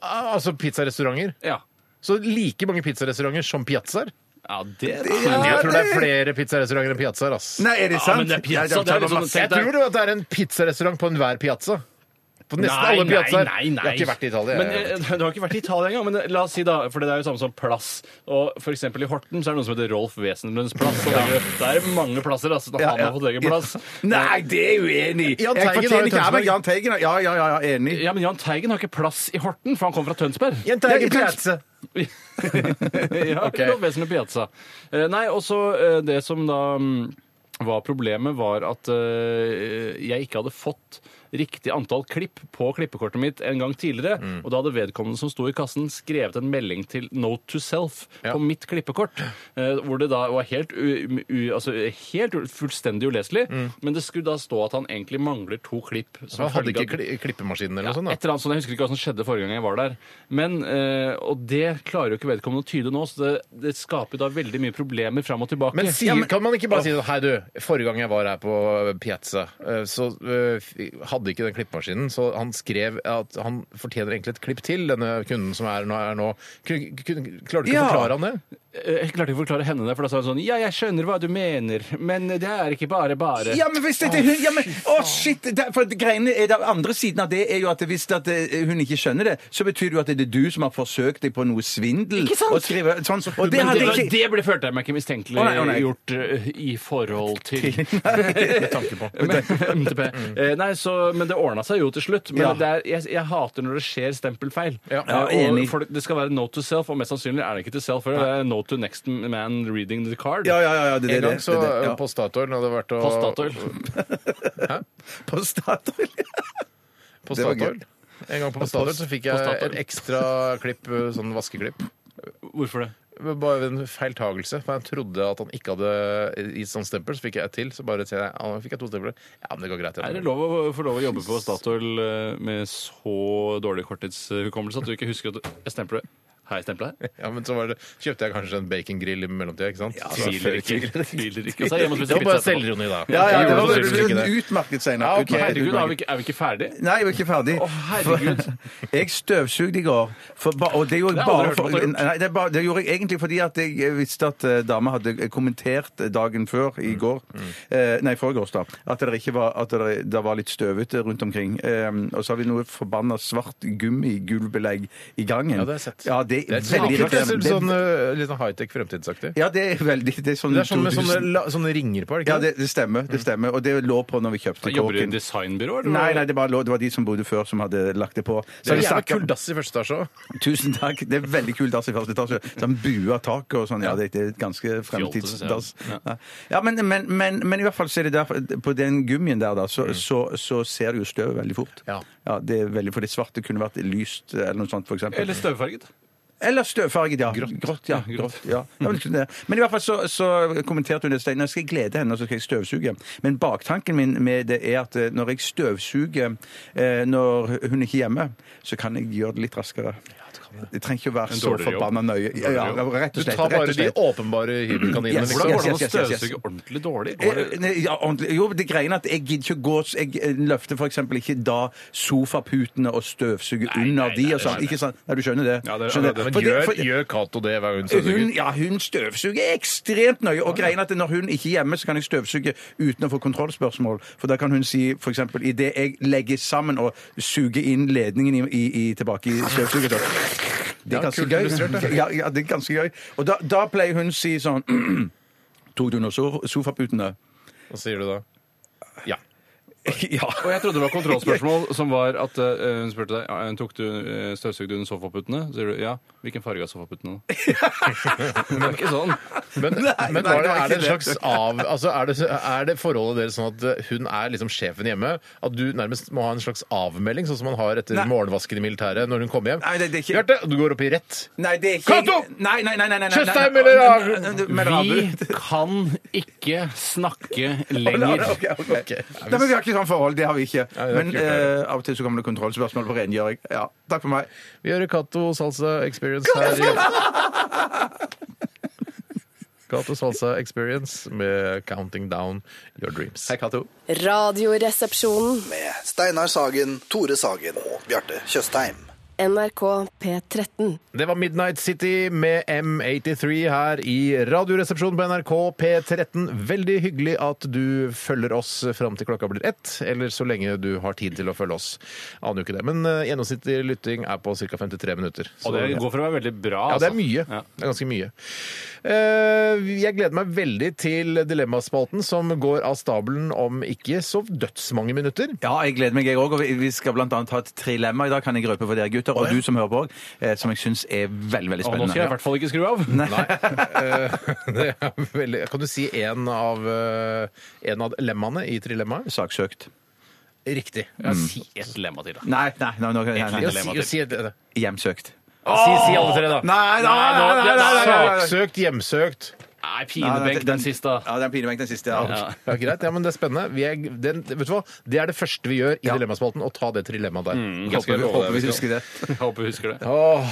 C: Ah, altså pizzarestauranter?
E: Ja,
C: Så like mange pizzarestauranter som piazzaer?
E: ja det
C: Men jeg tror det er flere pizzarestauranter enn piazzaer, ass.
B: Nei, er det
E: Ja,
B: sant?
E: men det er
B: Nei,
E: pizza,
B: det
E: det er
B: var
E: liksom-
B: masse-
C: Jeg tror jo at det er en pizzarestaurant på enhver piazza. På nesten alle piazzaer.
E: Nei, nei,
C: Jeg
E: nei.
C: har ikke vært i Italia.
E: Men, eh, du har ikke vært i Italia engang, men eh, la oss si da, for det er jo samme som plass. Og for eksempel i Horten så er det noe som heter Rolf Wesenlunds plass. Og det er- det er mange plasser, altså. Da han har fått egen plass.
B: Nei, det er jeg uenig i!
C: Jahn
B: Jeg
C: Teigen har jo
B: fortjener ikke
C: Tønsberg.
B: Ja, men Jahn Teigen har- Ja, ja, ja, ja, enig.
E: Ja, men Jahn Teigen har ikke plass i Horten, for han kommer fra Tønsberg.
C: Jenta er
B: Nei,
C: ikke piazza.
E: ja,
C: Ok.
E: ikke noe vesentlig piazza. Eh, Nei, og så eh, det som da mm, var problemet, var at eh, jeg ikke hadde fått riktig antall klipp på klippekortet mitt en gang tidligere.
C: Mm.
E: Og da hadde vedkommende som sto i kassen, skrevet en melding til Note to Self
C: Ja.
E: på mitt klippekort, eh, hvor det da var helt, u, u, altså, helt u- fullstendig uleselig. Men det skulle da stå at han egentlig mangler to klipp. som
C: Mm. Han hadde
E: følge av-
C: ikke kli klippemaskinen eller
E: ja,
C: noe sånt?
E: et
C: da?
E: eller annet sånt. Jeg husker ikke hva som skjedde forrige gang jeg var der. Men, eh, Og det klarer jo ikke vedkommende å tyde nå, så det, det skaper jo da veldig mye problemer fram og tilbake.
C: Men, sier, kan man ikke bare si sånn Hei, du, forrige gang jeg var her på Piazza, eh, så eh, f- hadde ikke den klippemaskinen, så han skrev at han fortjener egentlig et klipp til, denne kunden som er nå. Er nå. Kun, kun, klarer du ikke å
B: Ja.
C: forklare han det?
E: Eh, Jeg klarte ikke å forklare henne det, for da sa hun sånn Ja, jeg skjønner hva du mener, men det er ikke bare bare.
B: Ja, men hvis dette er hun ja, men, Å, shit! det- For greiene er den andre siden av det er jo at hvis at eh, hun ikke skjønner det, så betyr det jo at det er du som har forsøkt deg på noe svindel.
E: Ikke sant?
B: Og, skrive, sånn, og det
E: Men
B: hadde
E: det,
B: ikke
E: det ble følte jeg meg ikke mistenkelig
B: Å, nei, å, nei.
E: gjort eh, i forhold til Men- MTP. Eh, Nei, så, men det ordna seg jo til slutt. Men
B: Mm. Ja.
E: det er, jeg, jeg hater når det skjer stempelfeil.
C: Ja.
E: Eh, og
B: enig.
E: folk- det skal være note to self, og mest sannsynlig er det ikke til self. For det er note to next man reading the card.
B: Ja, ja, ja, ja, det, det,
C: En gang
B: det,
C: så eh,
B: det, det, ja.
C: på Statoil hadde vært å
E: På Statoil.
B: På Statoil.
C: På
B: Det var
C: Statoil. En gang på Statoil så fikk
E: på
C: jeg
E: Statoil.
C: et ekstra klipp, eh, sånn vaskeklipp.
E: Hvorfor det?
C: Bare ved en feiltagelse. For jeg trodde at han ikke hadde gitt sånn stempel, så fikk jeg et til. Så bare sier jeg ja, nå fikk jeg to stempler. Ja, men det går greit. jeg
E: Er det
C: tror.
E: lov å få lov å jobbe på Statoil eh, med så dårlig korttidshukommelse at du ikke husker at du- jeg stempler det? Har jeg stempla her?
C: Ja, men så var det, kjøpte jeg kanskje en bacongrill i mellomtida, ikke sant? Så-
E: Tviler ikke. Tviler ikke. Og så er jeg hjemme og
C: det var
E: spiser
C: bare
E: pizza etterpå.
C: selvironi, da.
B: Ja, ja,
C: Jeg
B: det
C: gjorde
B: var
C: sannsynligvis ikke det.
B: utmerket senere.
C: Ja, ok.
B: Utmerket,
E: Herregud,
B: utmerket.
E: er vi ikke, er vi ikke ferdig?
B: Nei, jeg var ikke ferdig.
E: Å, herregud.
B: For- Jeg støvsugde i går. For ba, og det gjorde
E: Det
B: jeg
E: har jeg aldri
B: bare
E: hørt
B: for,
E: om at du har gjort.
B: nei, det, er bare- det gjorde jeg egentlig fordi at jeg visste at eh, dama hadde kommentert eh, dagen før, i går, eh, nei, forgårs, da, at det ikke var, at det, det var litt støvete rundt omkring. Eh, og så har vi noe forbanna svart gummigulvbelegg i gangen.
C: Ja, det har jeg sett.
B: Ja, det er
C: Det er
B: veldig
C: litt sånn,
B: irriterende.
C: sånn, eh, litt sånn high-tech fremtidsaktig.
B: Ja, det er veldig Det er sånn
C: Det er sånn med
B: 2000.
C: sånne, la- sånne ringer på, er det
B: Ja,
C: ikke det?
B: det, det stemmer. det stemmer. Og det lå på når vi kjøpte
E: Jobber du i
B: kåken.
E: designbyrå? eller?
B: Nei, nei, det, bare lå, det var de som bodde før, som hadde lagt det på. Så
C: Det er
B: vi
C: jævla
B: snakket-
C: kul dass i første etasje òg.
B: Tusen takk. Det er veldig kult dass i første etasje. Sånn bua tak og sånn. Ja, det er et ganske fremtidsdass. Ja, ja men, men, men, men i hvert fall så er det der På den gummien der, da, så, så, så ser du jo støvet veldig fort.
C: Ja.
B: det er veldig, For det svarte kunne vært lyst eller noe sånt, for eksempel.
E: Eller støvfarget?
B: Eller støvfarget, ja. Grått. ja. Grått, ja. ja men, liksom det. men i hvert fall så, så kommenterte hun det. Stein, Nå skal jeg glede henne, og så skal jeg støvsuge. Men baktanken min med det er at eh, når jeg støvsuger eh, når hun ikke er hjemme, så kan jeg gjøre det litt raskere. Jeg trenger ikke å være så
E: dårligere jobb.
B: forbanna nøye. Ja, ja, rett
C: Du
B: og slett.
C: tar
B: rett
C: bare
B: og
C: de
B: slett.
C: åpenbare hybelkaninene.
B: Yes,
E: Hvordan
C: Liksom.
E: går
B: yes,
E: det an å
B: yes, yes, yes.
E: støvsuge ordentlig dårlig? Går
B: Eh,
E: det-
B: nei, Ja, ordentlig. Jo, det greien er at jeg gidder ikke å gå så Jeg eh, løfter f.eks. ikke da sofaputene og støvsuger under
E: nei,
B: de
E: nei,
B: og sånn.
E: nei, nei.
B: Ikke sant? Nei, du skjønner det?
E: Ja, det-
B: Skjønner
E: ja, det-
C: Men
B: Fordi-
C: gjør,
B: fordi-
C: gjør Cato det hver gang hun
B: Hun,
C: støvsuger?
B: ja, hun støvsuger ekstremt nøye. Og greien er at når hun ikke er hjemme, så kan jeg støvsuge uten å få kontrollspørsmål. For da kan hun si f.eks.: Idet jeg legger sammen og suger inn ledningen i, i, i, tilbake i støvsuget så- Det er
C: Ja,
B: ganske
C: kult
B: gøy.
C: illustrert, da.
B: Ja, ja, det er ganske gøy. Og da, da pleier hun å si sånn Tok du noe so- sofaputene?
C: Hva sier du da? Ja.
B: Ja.
E: Og jeg trodde det var kontrollspørsmål som var at eh, hun spurte deg ja, tok du eh, støvsugde du under sofaputene. Så sier du ja. Hvilken farge har sofaputene? da? det er ikke sånn.
C: Men, men
B: nei,
C: var
B: det
C: det,
B: var
C: er det en
B: ikke
C: slags av altså er, det, er det forholdet deres sånn at hun er liksom sjefen hjemme? At du nærmest må ha en slags avmelding, sånn som man har etter
B: Nei.
C: morgenvasken i militæret når hun kommer hjem?
B: Nei, det- det er ikke-
C: Bjarte, du går opp i rett.
B: Nei, det er ikke
C: Cato!
B: Nei, nei, nei, nei, nei, nei,
C: Tjøstheim
B: nei, nei,
C: eller Abu?
B: nei, nei, nei, Abu.
E: Vi kan ikke snakke lenger.
B: Ok, ok.
C: Ok.
B: Nei, men Vi har ikke sånn forhold, det har vi ikke.
C: det er
B: Men
C: kult,
B: eh, av og til så kommer det kontrollspørsmål på rengjøring. Ja, takk for meg.
C: Vi gjør Cato Salsa Experience her. i- Cato Salsa Experience med Counting Down Your Dreams.
B: Cato.
H: Radioresepsjonen.
A: Med Steinar Sagen, Tore Sagen og Bjarte Tjøstheim.
H: NRK P13.
C: Det var Midnight City med M83 her i Radioresepsjonen på NRK P13. Veldig hyggelig at du følger oss fram til klokka blir ett, eller så lenge du har tid til å følge oss. Aner jo ikke det, men eh, gjennomsnittlig lytting er på ca. 53 minutter. Så-
E: Og det går for å være veldig bra.
C: ja, det er
E: altså.
C: mye.
E: Ja.
C: Det er ganske mye. Eh, Jeg gleder meg veldig til Dilemmaspalten, som går av stabelen om ikke så dødsmange minutter.
B: Ja, jeg gleder meg, jeg òg. Og vi- vi skal bl.a. ha et trilemma i dag, kan jeg røpe for dere gutter, og du som hører på òg, som jeg syns er veldig, veldig
E: Og nå
B: spennende.
E: skal jeg i hvert fall ikke skru av.
C: Eh, det er veldig, kan du si en av, eh, en av lemmene i trilemmaet?
B: Saksøkt.
C: Riktig.
E: Ja, Si et lemma til, da.
B: Nei, nei, nei, nei, nei, nei.
C: Ja, si, si, det.
B: Hjemsøkt.
E: Si, si alle tre, da.
B: Nei, nei, nei, nei, nei, nei, nei, nei.
C: Saksøkt, hjemsøkt.
B: Nei,
E: Nei,
B: nei,
E: pinebenk den siste. da.
B: Ja, den pinebenk den siste. Ja.
E: Ja.
C: Ja, greit, ja, men Det er spennende. Vi er, den, vet du hva? Det er det første vi gjør i Dilemmaspalten, å ta det trilemmaet der.
E: Ganske
B: Håper, vi- håper vi
E: lovende.
B: husker det.
E: Jeg håper vi husker det.
C: Åh,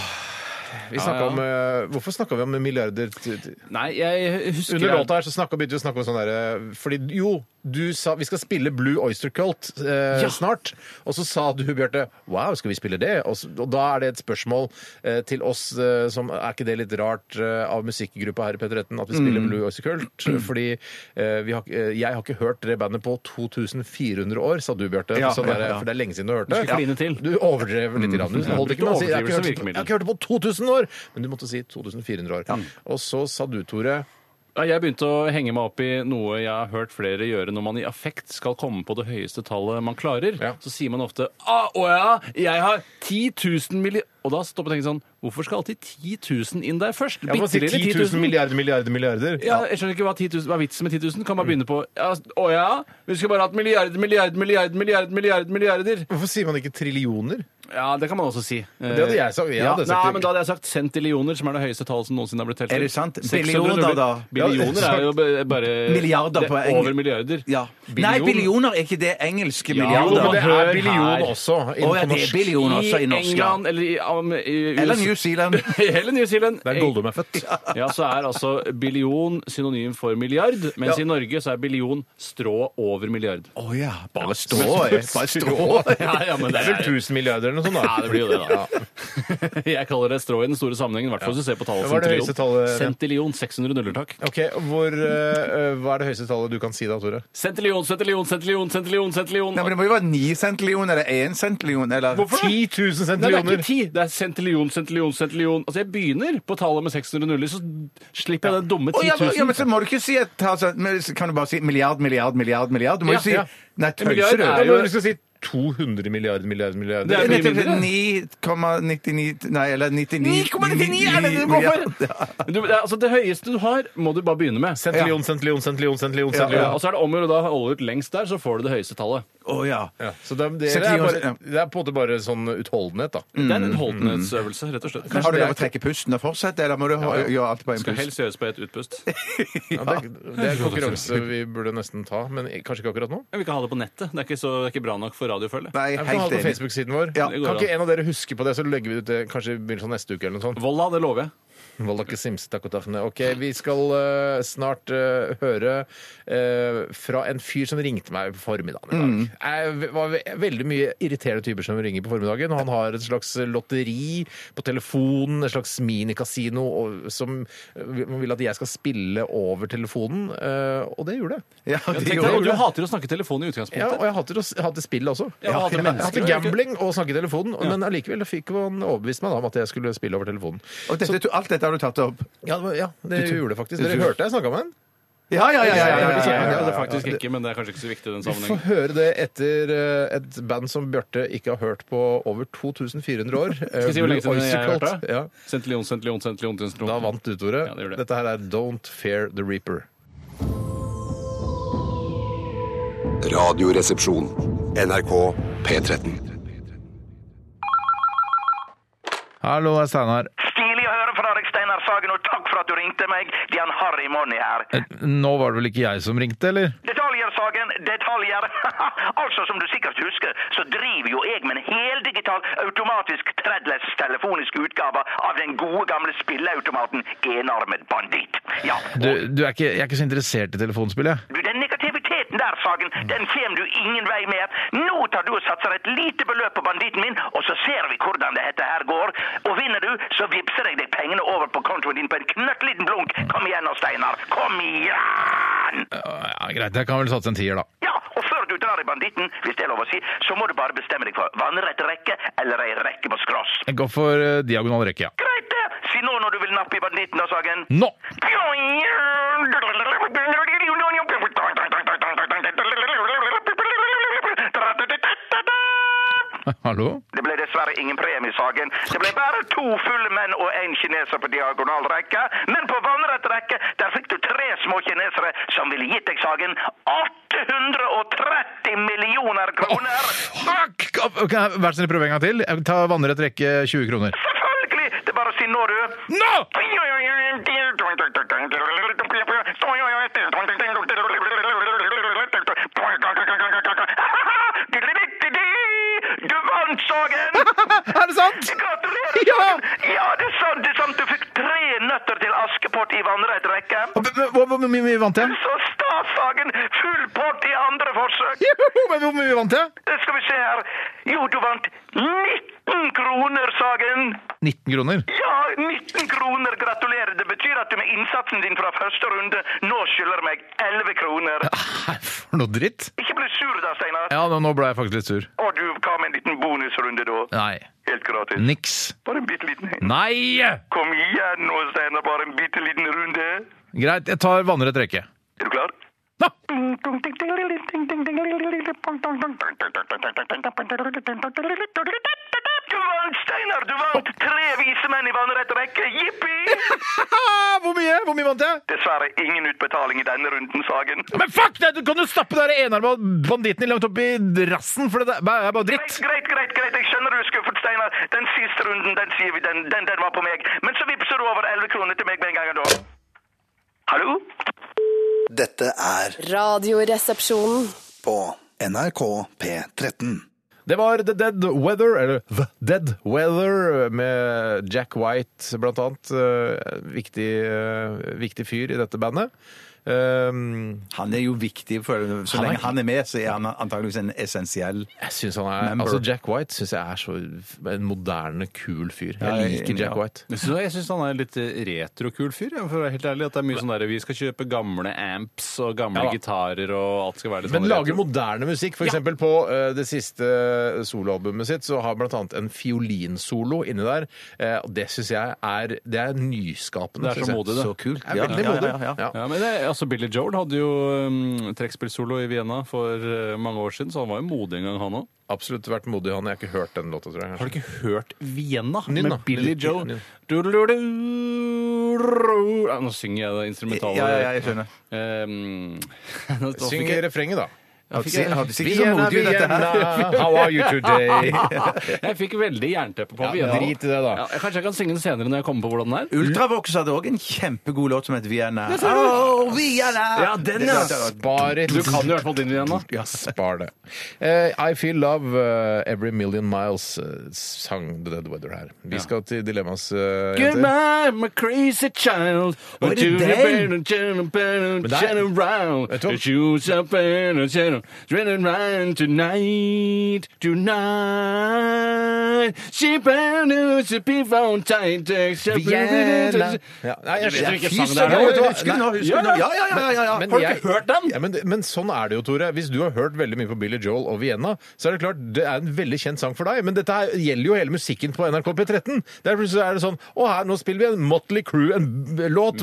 C: vi snakket
E: ja.
C: om, eh, hvorfor snakka vi om milliarder til- til-
E: Nei, jeg husker
C: Under låta her så snakket, begynte vi å snakke om sånn derre Fordi jo, du sa vi skal spille Blue Oyster Cult eh,
E: Ja.
C: snart. Og så sa du, Bjarte, wow, skal vi spille det? Og, så, og da er det et spørsmål eh, til oss eh, som Er ikke det litt rart eh, av musikkgruppa her i P13 at vi spiller
E: Mm.
C: Blue Oyster Cult? Fordi eh, vi har, eh, jeg har ikke hørt det bandet på 2400 år, sa du, Bjarte.
B: Ja,
C: sånn
B: ja,
C: derre-
B: ja.
C: For det er lenge siden du hørte.
E: skulle kline til. Mm.
C: Du overdrev litt. Grann. Du holdt ikke med å si jeg har ikke hørt det på- jeg har ikke hørt det på 2000 år, men du måtte si 2400 år. Og så sa du, Tore
E: Ja, Jeg begynte å henge meg opp i noe jeg har hørt flere gjøre når man i affekt skal komme på det høyeste tallet man klarer.
C: Ja.
E: Så sier man ofte «Ah, Å ja, jeg har 10 000 milli... Og da stopper jeg å tenke sånn Hvorfor skal alltid 10 000 inn der først?
C: Ja, man
E: Bitte
C: sier
E: lille
C: 10 000 milliarder, milliarder, milliarder.
E: Ja, jeg skjønner ikke hva, 10 000, hva er vitsen med 10 000. Kan man begynne på ja, Å ja, vi skulle bare hatt milliarder, milliarder, milliarder, milliarder, milliarder, milliarder.
C: Hvorfor sier man ikke trillioner?
E: Ja, det kan man også si.
C: Det hadde jeg sagt. Jeg
E: Ja,
C: hadde
E: nei,
C: sagt
E: men da hadde jeg sagt centillioner, som er det høyeste tallet som noensinne har blitt telt.
B: Er det sant?
E: 600
B: Billioner,
E: nuller.
B: da.
E: Billioner er jo b- bare
B: Milliarder
E: det,
B: på eng-
E: Over milliarder.
B: Ja. Nei, billioner er ikke det engelske
E: Jo, men
C: det
B: milliarder?
C: er
E: hør
C: billion
E: her.
C: også.
B: Å ja,
C: innenfor
B: det er
C: norsk.
B: billion også i norsk. ja.
E: England eller i, am- i
B: Eller
E: US-
B: New Zealand.
E: Eller New Zealand.
C: Det er Goldum er født.
E: Ja, så er altså billion synonym for milliard, mens i Norge så er billion strå over milliard.
B: Å ja. Bare strå. jeg. Bare strå.
E: Ja, ja, men
C: Det er vel 1000 milliarder eller noe sånt, da.
E: Ja, det blir jo det, da. Jeg kaller det strå i den store sammenhengen, i hvert fall hvis du ser på tallet
C: Hva er det
E: centillion.
C: høyeste tallet?
E: Centillion, 600 nuller, takk.
C: Ok, hvor, eh, hva er det høyeste tallet du kan si da, Tore?
E: Centillion, centillion, centillion, centillion, centillion.
B: Nei, men Det må jo være ni centillion eller én centillion eller
E: Hvorfor det?
C: 10 000
E: Nei, det er
C: centillioner.
E: ikke ti, det er centillion, centillion, centillion. Altså, jeg begynner på tallet med 600 nuller, så slipper jeg den dumme
B: Å,
E: 10
B: ja,
E: 000.
B: men- ja, men så må du ikke si et tall sånn, men så Kan du bare si milliard, milliard, milliard? milliard Du må
E: Ja,
B: jo si
E: ja.
B: Nei, tøyser
E: milliard
B: du?
E: er
C: Ja,
E: jo-
C: men du skal si 200 milliarder, milliarder, milliarder.
E: Det er mye mindre.
B: 9,99 Nei, eller 99
E: 9,99 er det du går for! Du, det er- altså, det høyeste du har, må du bare begynne med.
C: Centillion, centillion, centillion, centillion,
B: Ja,
E: Ja,
C: centillion.
E: og så er det om å gjøre å da holde ut lengst der, så får du det høyeste tallet.
B: Å ja.
C: Ja, så det, det, er
B: Centillion,
C: bare,
B: ja.
C: det er på en måte bare sånn utholdenhet, da.
E: Det er en utholdenhetsøvelse, rett og slett.
B: Har du lov å trekke pusten og fortsette, eller må du ha- gjøre alt på en
E: Skal
B: pust?
E: helst gjøres på et utpust.
C: Ja, det, det er konkurranse vi burde nesten ta, men kanskje ikke akkurat nå.
E: Men vi kan ha det på nettet. Det er ikke, så, det er ikke bra nok for radiofølge.
B: Nei,
C: Ja, Vi kan ha
B: helt
C: det på
B: enig.
C: Facebook-siden vår.
B: Ja.
E: Det går
C: Kan ikke
E: an.
C: en av dere huske på det, så legger vi ut det kanskje i begynnelsen av neste uke eller noe sånt?
E: Volla, det lover jeg.
C: Valdake Sims, takk og takkene. Ok, vi skal eh, snart eh, høre eh, fra en fyr som ringte meg på formiddagen i dag. Det var ve- veldig mye irriterende typer som ringer på formiddagen. Han har et slags lotteri på telefonen, et slags minikasino og- som eh, vil at jeg skal spille over telefonen, eh, og det gjorde jeg.
B: Ja, det
E: Tenk
B: gjorde
E: deg,
B: jeg.
E: du hater å snakke telefon i utgangspunktet.
C: Ja, og jeg hater, å s- hater spillet også.
E: Ja, og hater
C: jeg hater
E: mennesker.
C: gambling og snakke i telefonen, men allikevel fikk han overbevist meg da om at jeg skulle spille over telefonen.
B: Og dette, alt dette har du tatt opp?
C: Ja, det, var, ja, det gjorde det faktisk. Dere hørte jeg snakka med han? Ja, ja, ja, ja, ja, ja, ja, ja, ja.
E: Det er faktisk ikke, men det er kanskje ikke så viktig i den
C: Vi får
E: sammenhengen.
C: høre det etter eh, et band som Bjarte ikke har hørt på over 2400 år. Eh,
E: Skal jeg si hvor lenge siden jeg har hørt det?
C: Ja.
E: Sent Leon, Sent Leon, Sent Leon, Sent Leon.
C: Da vant du, Tore.
E: Ja, det gjorde det.
C: Dette her er Don't Fear the Reaper.
I: Radioresepsjon. NRK P13.
C: Hallo, det er Steinar.
J: Stilig å høre fra deg, Steinar Sagen, og takk for at du ringte meg. Det er en Harry Money her.
E: Eh.
C: Nå var det vel ikke jeg som ringte, eller?
J: Detaljer, Sagen, detaljer. altså, som du sikkert husker, så driver jo jeg med en heldigital automatisk threadless telefonisk utgave av den gode gamle spilleautomaten Enarmet Banditt. Ja,
C: Du, du er ikke, jeg er ikke så interessert i telefonspill, jeg.
J: du, den negativiteten der, Sagen, den kommer du ingen vei med. Nå tar du og satser et lite beløp på banditten min, og så ser vi hvordan det dette her går. Og vinner du, så vippser jeg deg pengene over på kontoen din på en knøttliten blunk. Kom igjen nå, Steinar. Kom igjen!
C: Ja, greit, jeg kan vel satse en tier, da.
J: Ja, og før du drar i banditten, hvis det er lov å si, så må du bare bestemme deg for vannrett rekke eller ei rekke på skross.
C: Jeg går for eh, diagonal rekke, ja.
J: Greit det! Si nå når du vil nappe i banditten, da, Sagen.
C: Nå! Hallo?
J: Det ble dessverre ingen premie, Sagen. Det ble bare to fulle menn og én kineser på diagonal rekke. Men på vannrett rekke der fikk du tre små kinesere som ville gitt deg, Sagen, 830 millioner kroner.
C: Fuck! Okay, vær så snill, prøve en gang til. Jeg Ta vannrett rekke 20 kroner.
J: Selvfølgelig! Det er bare å si nå, du.
C: Nå!
J: Du vant, Sagen!
C: Er det sant?
J: Gratulerer!
C: Ja!
J: Sagen! Ja, det er sant, det er sant. Du fikk tre nøtter til Askepott i vannrett rekke.
C: Hva- hva- Hvor hvor mye mye vant jeg?
J: Så stas, Sagen! Full pott i andre forsøk.
C: Joho, men Hvor mye vant jeg?
J: Det skal vi se her. Jo, du vant 19 kroner, Sagen.
C: 19 kroner.
J: Ja, 19 kroner. Gratulerer. Det betyr at du med innsatsen din fra første runde nå skylder meg 11 kroner.
C: Nei, for noe dritt.
J: Ikke bli sur da, Steinar.
C: Ja, nå, nå ble jeg faktisk litt sur.
J: Og du hva med en liten bonusrunde da.
C: Nei.
J: Helt gratis.
C: Niks.
J: Bare en bitte liten en.
C: Nei!
J: Kom igjen nå, Steinar. Bare en bitte liten runde.
C: Greit, jeg tar vannrett rekke.
J: Er du klar?
C: Nå!
J: Du vant, Steinar! Du vant! Tre vise menn i vannrett rekke. Jippi!
C: Hvor mye? Hvor mye vant jeg?
J: Dessverre ingen utbetaling i denne runden, Sagen.
C: Men fuck det! Du kan jo stappe den enarma banditten langt opp i rassen, for det er bare- er bare
J: Greit,
C: dritt.
J: greit, greit, greit. Jeg skjønner du er skuffet, Steinar. Den siste runden, den sier vi, den, den, den var på meg. Men så vippser du over 11 kroner til meg med en gang da. Hallo?
K: Dette er
H: Radioresepsjonen.
K: på NRK P13.
C: Det var The Dead Weather, eller The Dead Weather, med Jack White, blant annet. Eh, Viktig, eh, viktig fyr i dette bandet. Um,
B: Han er jo viktig, for så
C: Han er-
B: lenge han er med, så er han antageligvis en essensiell
C: jeg synes han er,
B: Member.
C: altså Jack White synes jeg er så en moderne, kul fyr.
B: Ja,
C: Jeg
B: jeg er
C: liker
B: enig,
C: Jack
B: ja.
C: White.
E: Jeg synes- Jeg syns han er en litt retrokul fyr. ja, For å være helt ærlig, at det er mye sånn der, Vi skal kjøpe gamle amps og
C: Ja
E: gamle
C: da.
E: gitarer og alt skal være litt
C: Men
E: sånn
C: lager
E: retro.
C: moderne musikk. For eksempel på eh, det siste eh, soloalbumet sitt så har blant annet en fiolinsolo inni der. eh, og det syns jeg er Det er nyskapende.
E: Det er så
C: synes jeg.
E: modig, det.
C: Så kult. Det er
B: Ja,
C: veldig
B: ja,
C: modig.
B: ja, ja,
C: Ja.
E: Ja, men det, altså Billy Joel hadde jo um, trekkspillsolo i Vienna for eh, mange år siden, så han var jo modig en gang, han òg.
C: Absolutt vært modig, han. Jeg har ikke hørt den låta, tror jeg.
E: Har du ikke hørt Vienna
C: Nynn, da.
E: med Billy
C: Nynn,
E: Joel?
C: nynn.
E: Du-du-du-du-du. Ja, nå synger jeg det instrumentale.
B: Ja, ja, ja, jeg skjønner.
E: Um, nå fikk
C: Syng
E: jeg-
C: refrenget, da.
E: nå fikk jeg-
B: Hades ikke så modig ut, dette her.
C: Vienna, how are you today?
E: Jeg fikk veldig jernteppe på
C: Ja,
E: Vienna.
C: drit i det, da.
E: Ja, jeg- kanskje jeg kan synge den senere når jeg kommer på hvordan den er?
B: Ultravox hadde òg en kjempegod låt som het Vienna. Oh, Vienna!
E: Ja, den, ja.
C: Spar it.
E: Du kan jo i hvert fall din Vienna.
C: Ja, spar det. Eh, I Feel Love, eh, Every Million Miles, eh, sang The Dead Weather her. Vi skal til Dilemmas. eh, jenter.
E: Goodbye, my crazy child.
B: Var det den?
E: Turn around,
C: der-
E: turn around.
C: Vet du hva?
E: Shoot up and turn Run and run tonight, tonight Ship and loose, people on tight
C: Vienna. Ja, nei, jeg
E: Vet du hvilken
C: Fy
E: sang
C: søren,
E: det er?
C: vet du hva?
E: Husker du
C: Nei,
E: nå? Husker du nå? Ja, ja, ja, ja, ja.
C: Men
E: Har du
C: jeg-
E: ikke hørt den?
C: Ja, men, men sånn er det jo, Tore. Hvis du har hørt veldig mye på Billy Joel og Vienna, så er det klart det er en veldig kjent sang for deg. Men dette her gjelder jo hele musikken på NRK P13. Der plutselig er det sånn Å, her, nå spiller vi en Motley Crew, en b- låt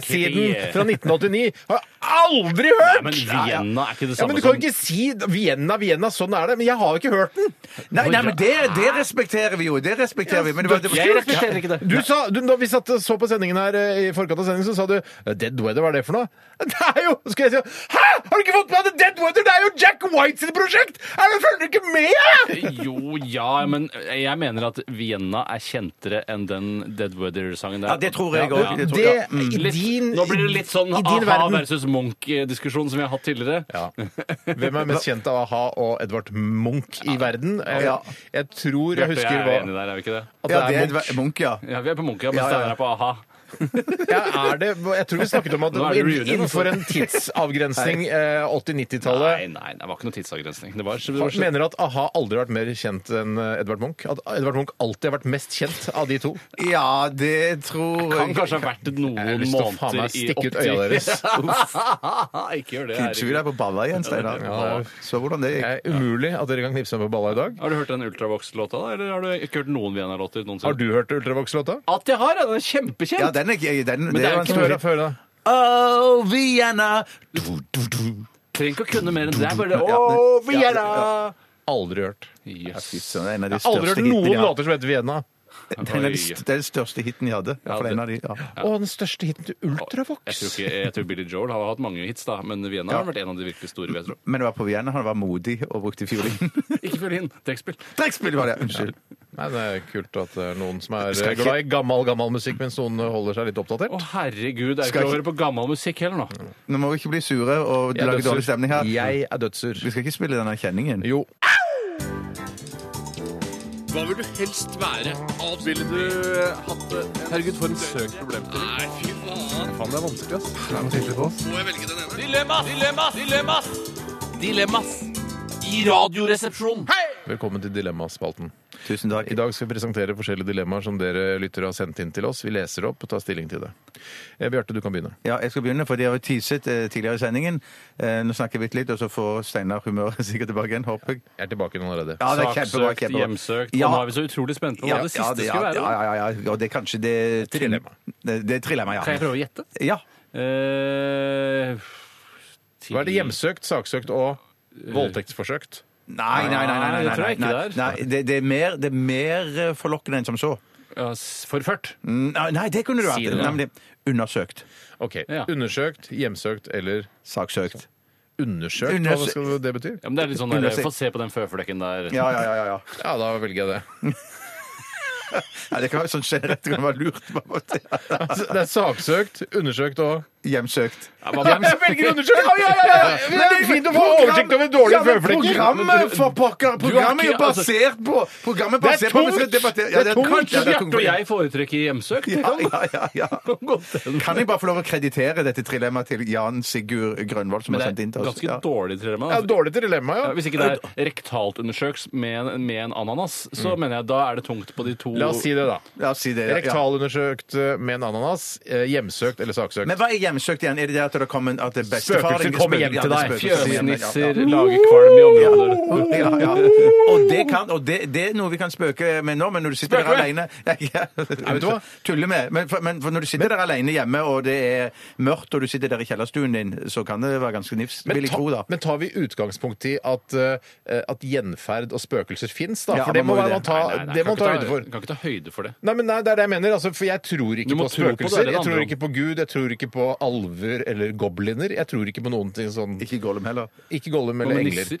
C: B-siden fra 1989. Har aldri hørt!
E: men Vienna er ikke det
C: Ja,
E: samme
C: men du kan
E: som-
C: jo ikke si Vienna, Vienna, sånn er det. Men jeg har jo ikke hørt den.
B: Nei, nei, men det, det respekterer vi jo. Det respekterer vi. Men det var, det var
C: Jeg respekterer ikke det. Du sa, du, da vi satt og så på sendingen her eh, i forkant av sendingen, så sa du "Eh, Dead Weather, hva er det for noe? Det er jo så skal jeg si, Hæ! Har du ikke fått med deg Dead Weather? Det er jo Jack White sitt prosjekt! Er du følger du ikke med?
E: Jo, ja, men jeg mener at Vienna er kjentere enn den Dead Weather-sangen der.
B: Ja, det tror jeg
E: Ja,
B: også.
E: ja.
B: Det
C: jeg.
B: tror
C: Det-
E: Mm.
C: i
E: Litt-
C: din-
E: Nå blir det litt sånn
C: i din
E: aha
C: verden.
E: versus Munch-diskusjon som vi har hatt tidligere.
C: Hvem er mest kjent av a-ha og Edvard Munch i verden? Jeg,
E: Ja.
C: jeg tror
E: Bjarte,
C: jeg
E: jeg
C: husker
E: er
C: hva
E: enig der, er vi ikke det?
C: at det er Munch.
B: Munch, ja.
E: Ja, vi er på Munch, ja, men
C: Ja, ja, ja.
E: Steinar er på a-ha.
C: Ja, er det, jeg tror vi snakket om at
E: Nå er det reunion, altså.
C: innenfor en tidsavgrensning, eh, 80-90-tallet
E: Nei, nei, det var ikke noen tidsavgrensning. Det var, det var
C: Har- Mener du at a-ha aldri har vært mer kjent enn eh, Edvard Munch? At Edvard Munch alltid har vært mest kjent av de to?
E: Eh,
B: Ja, det tror
E: kan kanskje ha vært noen
C: Jeg har lyst til å faen meg
E: måneder i
C: stikke ut
E: 80.
C: øya deres.
E: ikke gjør det.
B: Knipser vi deg
E: Erik.
B: på balla igjen, Steinar?
C: Ja, det
B: Så hvordan det
C: Det
B: gikk.
C: er umulig at dere kan knipse meg på balla i dag.
E: Har du hørt den Ultravox-låta, da? Eller har du ikke hørt noen Vienna-låter
C: Har
E: noensinne?
C: du hørt Ultravox-låta?
E: At jeg har! ja, Den er kjempekjent!
B: Ja, den er ikke den,
E: Men det er
B: var
E: jo
B: en
E: ikke
C: Før,
B: stor-
C: før, da.
B: Oh, Vienna! Du, du, du.
E: Trenger ikke å kunne mer enn det. Bare
B: Ja, det-
E: Å, Vienna!
C: Aldri hørt.
E: Yes.
B: Fy søren, det er en av de
C: Jeg har aldri
B: største
C: hørt noen
B: hitene de har.
C: låter som heter Vienna.
B: Det er en av de st- det er den største hiten de hadde. Ja, for
E: det-
B: en av de, ja.
C: Og den største hiten til
E: Jeg
C: Ultravox.
E: tror, ikke, jeg tror Billy Joel har hatt mange hits, da, men Vienna har vært en av de virkelig store. vil Jeg tror.
B: Men det var på Vienna han var modig og brukte fiolin.
E: Ikke fiolin, trekkspill.
B: Trekkspill var det! Unnskyld.
C: Nei, Det er kult at det er noen som er
B: Skal ikke-
C: glad i gammel, gammel musikk, mens noen holder seg litt
E: Å,
C: oppdatert.
E: herregud, det er ikke
B: Skal
E: lov å
B: ikke-
E: høre på gammel musikk heller nå.
B: Nå må vi ikke bli sure og
C: Jeg er
B: lage dårlig
C: dødsur.
B: stemning her.
C: Jeg er dødssur.
B: Vi skal ikke spille denne kjenningen.
C: Jo.
E: Hva vil du helst være? Ville du hatt det? Herregud, for en søk problemstilling. Nei, fy faen. Faen, det er vanskelig, ass. Må jeg velge den ene? Dilemmas! Dilemmas! Dilemmas! Dilemmas! I radioresepsjonen!
C: Velkommen til Dilemmaspalten.
B: Tusen takk.
C: I dag skal vi presentere forskjellige dilemmaer som dere lyttere har sendt inn til oss. Vi leser det opp og tar stilling til det. Eh, Bjarte, du kan begynne.
B: Ja, jeg skal begynne, for de har jo teaset eh, tidligere i sendingen. Eh, nå snakker vi litt, og så får Steinar humøret sikkert tilbake igjen, håper jeg.
C: Jeg er tilbake nå allerede.
B: Ja, det er kjempebra,
E: Saksøkt,
B: kjempebra.
E: hjemsøkt.
B: Ja.
E: Nå er vi så utrolig spente på hva det siste
B: ja,
E: skulle
B: ja,
E: være.
B: Ja, ja, ja. Og det er kanskje det
C: Triller meg.
B: Det, det triller meg, ja.
E: Kan jeg prøve å gjette?
B: Ja.
E: Eh, til-
C: Hva er det hjemsøkt, saksøkt og eh, voldtektsforsøkt?
B: Nei, nei, nei. nei, nei,
E: Nei, det tror jeg
B: nei,
E: ikke
B: nei,
E: det er.
B: nei. Det, det, er mer, det er mer eh, forlokkende enn som så.
E: Ja, s- Forført.
B: Nei, nei, det kunne du
E: Si
B: vært.
E: det, da.
B: Nei, men det, undersøkt.
C: Ok,
E: Ja.
C: Undersøkt, hjemsøkt eller
B: Saksøkt.
C: undersøkt? Hva
B: Undersø-
C: skal det bety?
E: Ja, men det er litt sånn der,
B: Undersøkt.
E: Få se på den føflekken der.
B: Ja, ja, ja. ja, ja.
C: Ja, da velger jeg det.
B: Nei, det kan være sånn generelt. Det kan være lurt. på en måte.
C: Altså, Det er saksøkt, undersøkt og
B: Hjemsøkt.
C: Jeg velger undersøkt! Ja, ja, ja, ja. Det er fint å få oversikt over
B: Ja,
C: dårlige
B: men
C: føflekker.
B: Programmet for pokker! Programmet er jo
E: ikke- altså-
B: basert på Programmet er
C: Det er
B: basert på vi skal
C: tungt!
B: debattere-
C: Det er tungt!
B: kanskje-
E: Kanskje
B: det er
E: Bjarte og jeg foretrekker hjemsøkt?
B: Ja, ja, ja, ja. Kan jeg bare få lov å kreditere dette trilemmaet til Jan Sigurd Grønvold, som
E: Men
B: har
E: det
B: sendt
E: er
B: inn til oss?
E: ganske
B: Ja.
E: dårlig dilemma.
C: Ja,
E: altså.
C: dårlig til dilemma,
E: Ja,
C: ja.
E: hvis ikke det er rektalt undersøkt med en, med en ananas,
B: Mm.
E: så mener jeg da er det tungt på de to
C: La oss si det, da.
B: La oss si det. ja.
C: Rektalundersøkt eh, med en ananas. eh, Hjemsøkt eller saksøkt?
B: Men hva er hjemsøkt igjen? Er det det at det kommer en at det er bestefar
C: Spøkelser
B: ringer-
C: kommer hjem
B: Ja,
C: til
B: det er
C: deg.
B: spøkelser som kommer hjem, ja, ja.
E: Fjøsnisser lager kvalm i områder.
B: Ja, ja. Og, det, kan, og det, det er noe vi kan spøke med nå, men når du sitter
C: Spøke
B: der
C: med?
B: alene ja, ja.
C: vet du hva?
B: Tulle med. Men, for, men for når du sitter der alene hjemme, og det er mørkt, og du sitter der i kjellerstuen din, så kan det være ganske nifst, vil
C: Men,
B: jeg tro,
C: ta,
B: da.
C: men tar vi utgangspunkt i at, eh, at gjenferd og spøkelser fins, da?
B: Ja,
C: for det
B: man
C: må være-
B: må jo det.
C: man ta,
E: Nei, nei, nei,
C: det må
E: kan
C: man ta
E: ikke
C: høyde
E: ta-
C: for.
E: Kan ikke ta høyde for det.
C: Nei, men nei, det er det jeg mener. Altså, for jeg tror ikke
E: Du må
C: på
E: tro på det, det
C: spøkelser.
E: er det
C: jeg
E: handler
C: tror
E: om.
C: ikke på Gud, jeg tror ikke på alver eller gobliner. Jeg tror ikke på noen ting sånn
B: Ikke Gollum heller.
C: Ikke Gollum eller
E: Men
C: engler.
E: nisser?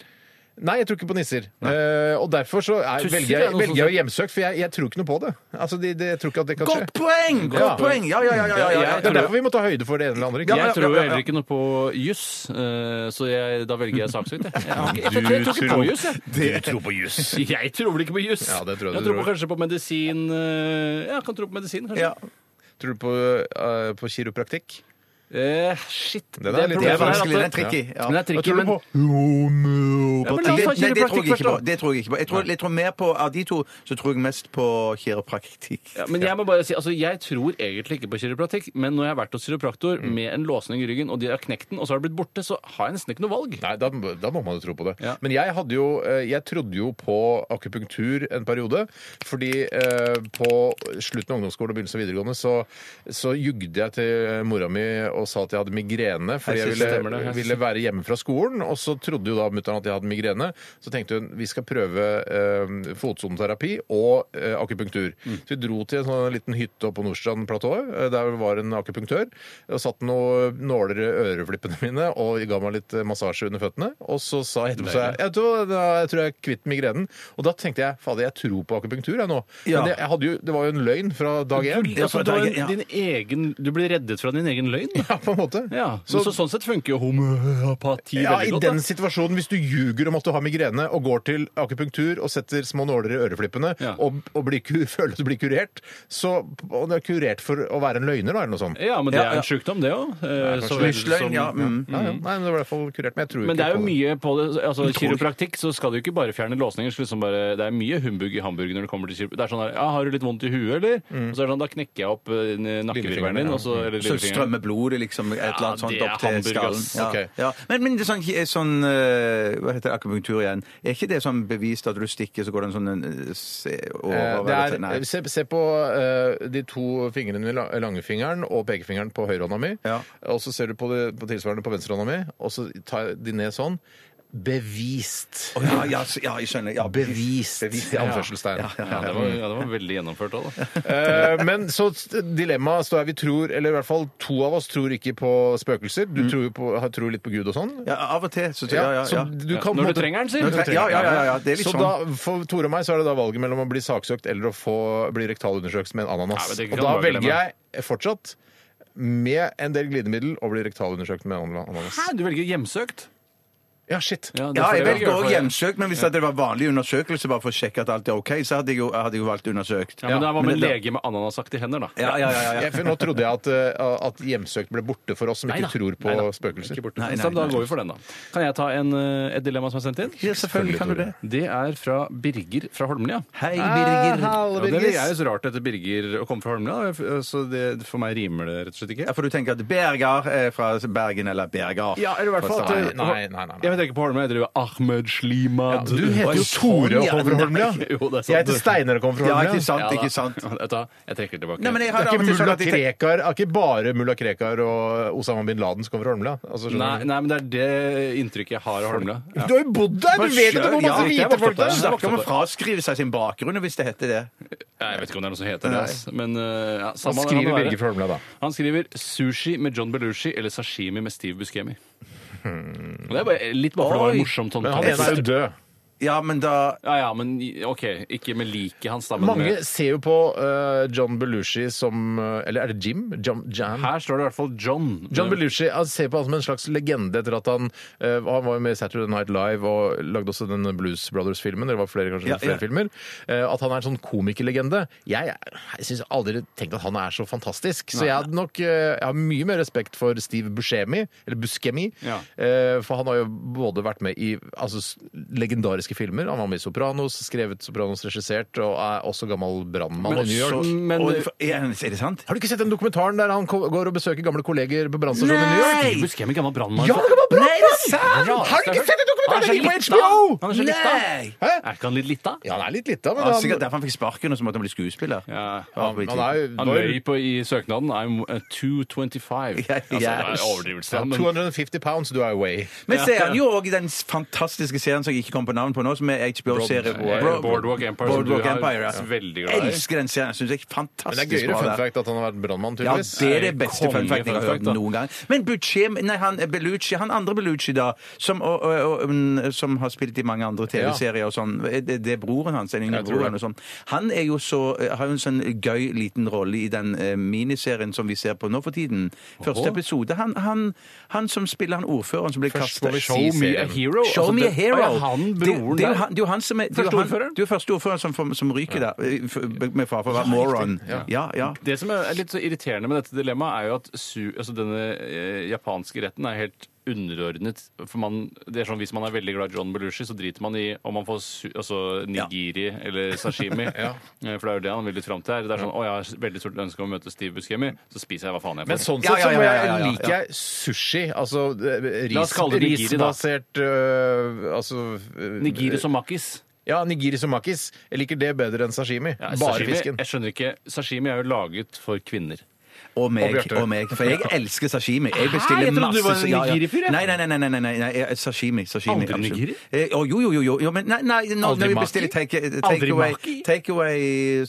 C: Nei, jeg tror ikke på nisser. Eh, og derfor så er,
E: Tusser
C: velger
E: er
C: jeg,
E: noe
C: velger
E: sånn- sånt.
C: jeg å hjemsøkt, for jeg, jeg tror ikke noe på det. Altså, de, de, jeg tror ikke at det kan skje.
B: Godt poeng! Godt
C: Ja.
B: poeng! Ja, ja, ja. ja, ja, ja.
C: Det er derfor vi må ta høyde for det ene eller andre. ikke?
B: Ja,
E: Jeg
B: ja,
E: tror
B: ja, ja.
E: heller ikke noe på juss, eh, så jeg, da velger jeg saksøkt. Jeg, jeg, har ikke- jeg,
C: Du
E: tror- jeg tror ikke på
C: tror-
E: juss, jeg.
C: Du tror på juss.
E: Jeg tror vel ikke på juss.
C: Ja, det tror jeg
E: jeg
C: du
E: tror på,
C: tror.
E: kanskje på medisin eh, Ja, jeg kan tro på medisin, kanskje.
B: Ja.
C: Tror du på, eh, på kiropraktikk?
E: Eh, shit.
C: Den er litt
E: problemet at-
C: vanskeligere, den er tricky, ja.
E: Men det
C: Hva
E: er tricky,
C: tror du
E: men
C: på?
E: Ja, men la oss ta
B: Det- nei, det tror
E: kiropraktikk
B: jeg
E: først,
B: ikke på.
E: da.
B: Det tror jeg ikke på. Jeg tror, jeg tror mer på, Av de to så tror jeg mest på kiropraktikk.
E: Ja, men jeg må bare si, altså jeg tror egentlig ikke på kiropraktikk, men når jeg har vært hos kiropraktor
C: Mm.
E: med en låsning i ryggen, og de har knekt den, og så har det blitt borte, så har jeg nesten ikke noe valg.
C: Nei, da, da må man jo tro på det. Men jeg hadde jo eh, Jeg trodde jo på akupunktur en periode. Fordi eh, på slutten av ungdomsskolen og begynnelsen av videregående så, så jugde jeg til mora mi og sa at jeg hadde migrene. Fordi
E: Jeg
C: jeg
E: synes det stemmer
C: ville,
E: det. Jeg synes
C: Eh, ville være hjemme fra skolen. Og så trodde jo da mutter'n at jeg hadde migrene. Så tenkte hun vi skal prøve eh, fotsoneterapi og eh, akupunktur.
E: Mm.
C: Så vi dro til en sånn liten hytte oppe på Nordstrand platået. eh, Der var en akupunktør. Og satt noen nåler i øreflippene mine og ga meg litt eh, massasje under føttene. Og så sa jeg etterpå så jeg, jeg, tror, da, jeg tror jeg er kvitt migrenen. Og da tenkte jeg fader, jeg tror på akupunktur jeg nå.
E: Ja.
C: Men det, jeg hadde jo, det var jo en løgn fra dag én.
E: Du, altså, det var en- din egen, du ble reddet fra din egen løgn?
C: Ja, på en måte.
E: Så, så sånn sett funker jo homeopati
C: Ja,
E: veldig
C: I
E: godt.
C: den
E: da.
C: situasjonen, hvis du ljuger om at du har migrene, og går til akupunktur og setter små nåler i øreflippene og, og blir, ku- føler at du blir kurert, så og du er kurert for å være en løgner, da, eller noe sånt.
E: Ja, men det er en sjukdom, det Eh, òg.
C: Lysløgn, ja. Mm. ja, ja. Nei, men det var i hvert fall kurert. Men jeg tror
E: Men det
C: ikke
E: er jo
C: på
E: mye på det, altså
C: Jeg tror ikke.
E: kiropraktikk så skal du ikke bare fjerne låsninger. så Liksom bare, det er mye humbug i hamburger når det kommer til kiropraktikk. Det er sånn her, ja, har du litt vondt i huet, eller? Og så er det sånn, da knekker jeg opp eh, nakkevirvelen din, og så eller
B: Så
E: lillefingeren.
B: strømmer blodet liksom et eller annet sånt
E: det er
B: opp til
E: hamburg,
B: skallen.
E: ass.
B: Ja.
E: Ok.
B: Ja. Men, men det er sånn, sånn eh, Hva heter det, akupunktur igjen? Er ikke det sånn bevist at du stikker, så går det en sånn eh, se, over,
C: Eh, Det
B: eller- nei.
C: er, se, se på eh, de to fingrene mine, la- langfingeren og pekefingeren på høyrehånda mi. Og så ser du på, det, på tilsvarende på venstrehånda mi, og så tar jeg de ned sånn. Bevist.
B: Å, ja, ja, ja, jeg skjønner. Ja,
C: bevist, i
E: Ja.
C: anførselstegn.
E: Ja, ja, det var, ja, det var veldig gjennomført òg, da.
C: Eh, Men så dilemmaet står her. Vi tror, eller i hvert fall to av oss tror ikke på spøkelser.
E: Mm.
C: Du tror, jo på, har- tror litt på Gud og sånn.
B: Ja, av og til. Så,
C: Ja,
B: ja, ja,
C: så
B: ja.
C: du kan på en
E: Når du
C: måte-
E: trenger den, sier
C: Når du
E: du?
C: trenger den,
B: Ja, ja, ja, ja, det er litt
C: så
B: sånn.
C: da, for Tore og meg så er det da valget mellom å bli saksøkt eller å få, bli rektalundersøkt med en ananas.
E: Nei, men
C: og
E: det kan
C: da
E: være
C: velger
E: dilemma.
C: jeg fortsatt med en del glidemiddel å bli rektalundersøkt med en ananas.
E: Hæ, du velger hjemsøkt?
C: Ja, shit.
B: Ja, jeg velger òg hjemsøkt, men hvis det var vanlig undersøkelse bare for å sjekke at alt er OK, så hadde jeg jo, hadde jeg jo valgt undersøkt.
E: Ja, men det var med
B: Men
E: en
B: det-
E: lege med ananasaktige hender, da.
B: Ja, ja, ja, ja.
C: Jeg- for nå trodde jeg at, eh, at hjemsøkt ble borte for oss som ikke
E: Neida.
C: tror på
E: Neida.
C: spøkelser.
E: Så da går vi for den, da. Kan jeg ta en, eh, et dilemma som er sendt inn?
B: Ja, selvfølgelig kan du det.
E: Det er fra Birger fra Holmlia.
B: Hei, Birger.
E: Ja, det vil- er jo så rart etter Birger å komme fra Holmlia, da. så det, for meg rimer det rett og slett ikke.
B: Ja, for du tenker at Berger er fra Bergen, eller Berger
E: Ja, eller i hvert fall at
B: Fra Stavanger.
C: Nei, nei, nei, nei.
E: Jeg vet ikke på Holmlia, jeg driver Ahmed Slimad.
C: Du heter jo Tore og kommer fra Holmlia.
E: Jo, det er sant.
C: Jeg heter Steinar og kommer fra
B: Ja,
C: Holmlia.
B: ikke sant,
E: da.
B: ikke sant.
E: Vet du hva, Jeg trekker eh, det tilbake.
B: Nei, men jeg
C: Det
B: har
C: er
B: av og
C: ikke,
B: til sånn
C: mulla
B: at jeg tenker-
C: Krekar, er ikke bare mulla Krekar og Osama bin Laden som kommer fra Holmlia. Altså, skjønner
E: Nei,
C: du?
E: nei, men det er det inntrykket jeg har av Holmlia. Ja.
C: Du har jo bodd der! Du vet jo hvor
B: Ja,
C: masse
B: jeg
C: hvite
B: vokste
C: folk
B: opp der.
C: det
B: Du
C: er!
B: snakker om å fraskrive seg sin bakgrunn hvis det heter det.
E: Jeg vet ikke om det er noe som heter det.
B: Nei.
E: ass. Men, eh, ja, samme
C: Hva
E: kan det
C: skriver
E: være.
C: Birger fra Holmlia, da?
E: Han skriver 'sushi med John Belushi' eller 'sashimi med Steve Buscemi'. Og det er bare, litt bare for det var
B: Oi.
E: morsomt.
C: Men han ene er jo død.
B: Ja, men da
E: sånn Ja, ja, men OK. Ikke med liket hans, da. Men
C: Mange ser jo på eh, John Belushi som eh, Eller er det Jim? Jam, Jam?
E: her står det i hvert fall John.
C: John Belushi han ser på han som en slags legende etter at han eh, Han var jo med i Saturday Night Live og lagde også den Blues Brothers-filmen. Det var flere kanskje
B: Ja, ja.
C: flere filmer. Eh, at han er en sånn komikerlegende. Jeg, jeg syns aldri tenkt at han er så fantastisk. Så jeg hadde nok eh, Jeg har mye mer respekt for Steve Buscemi, eller Buscemi.
E: Ja.
C: eh, for han har jo både vært med i altså, s- legendariske filmer. Han var med i Sopranos, skrevet Sopranos, regissert, og er også gammel brannmann i New York.
B: så,
E: men-
B: og, er, er det sant?
C: Har du ikke sett den dokumentaren der han ko- går og besøker gamle kolleger på brannstasjonen i New York?
E: Steve Buscemi, gammel brannmann.
C: Ja, det var bra!
B: Nei, det er sant!
C: Ja, Har du ikke sett den dokumentaren? Den
E: Han er
C: ligger
E: så
C: på HBO!
E: lita. Han er så lita.
B: Nei!
C: Hæ?
E: Er ikke han litt lita?
C: Ja, han er litt lita, men
B: Ja,
C: han,
B: sikkert derfor han fikk sparken, og så måtte han bli skuespiller.
E: Ja.
B: Ja, på
C: han er jo
E: Han løy på i søknaden. I'm uh, 225.
B: Ja,
E: Altså, det er
B: yes.
E: overdrivelse.
C: Ja,
E: da, Men
C: 250 pounds do I weigh.
B: Men ser han jo òg den fantastiske serien som jeg ikke kom på navn på nå, som er HBO-serie
E: Eh, Boardwalk Empire,
B: Boardwalk
E: som du
B: Empire,
E: er
B: ja.
E: veldig glad i.
B: Elsker den serien. Syns jeg er fantastisk
C: Men det er gøyere
B: bra,
C: fun
B: det.
C: fact at han har vært brannmann,
B: Ja,
C: tydeligvis.
B: det er det
E: er
B: beste
E: konge
B: fun fact jeg har
E: fun fact,
B: hørt
E: da.
B: noen gang. Men Bucci, nei, han eh, Bellucci, han andre Bellucci, da, som, og, og, og, mm, som har spilt i mange andre TV-serier og sånn, eh, det, det er broren hans, den yngre
C: Jeg tror
B: broren
C: det.
B: og sånn, han er jo så, eh, har jo en sånn gøy liten rolle i den eh, miniserien som vi ser på nå for tiden. Første episode. Han, han, han som spiller han ordføreren som blir
C: Først
B: kastet
C: må vi
E: Show me a hero.
J: altså
B: Show me a
E: det-
B: hero.
E: Er han
B: Det-
E: stolen
B: det er jo
E: der.
B: han, det er jo han som er det er jo han-
E: Førsteordføreren?
B: Det er jo førsteordføreren som, får- som ryker der, eh, f- med fare for å være moron. Ja, ja.
E: Det som er litt så irriterende med dette dilemmaet, er jo at su, altså denne eh, japanske retten er helt underordnet. For man, det er sånn, Hvis man er veldig glad i John Belushi, så driter man i om man får su, altså nigiri eller sashimi.
C: Ja.
E: Eh, For det er jo det han vil litt fram til her. Det er sånn, å, Jeg har veldig stort ønske om å møte Steve Buscemi, så spiser jeg hva faen jeg får.
C: Men sånn sett så må jeg, liker jeg sushi. Altså eh,
E: La oss
C: ris,
E: kalle det nigiri, da.
C: risbasert øh, Altså
E: Nigiri som
C: makis. Ja, nigiri som makis. Jeg liker det bedre enn sashimi.
E: Ja,
C: Bare
E: sashimi,
C: fisken.
E: Jeg skjønner ikke. Sashimi er jo laget for kvinner.
B: Og
E: Og
B: meg,
E: Bjarte.
B: og meg, for jeg elsker sashimi. Jeg
E: Hæ?
B: bestiller
E: Jeg trodde
B: masse
E: du var en
B: ja, ja.
E: nigiri-fyr, jeg.
B: Nei, nei, nei. nei, nei, nei, nei, nei, eh, Sashimi. sashimi
E: Aldri
B: absolutt.
E: nigiri?
B: Eh, å, Jo, jo, jo. jo, jo men nei, nei, når,
E: Aldri
B: når vi
E: maki?
B: bestiller take, eh,
E: Aldri
B: take away,
E: maki?
B: take away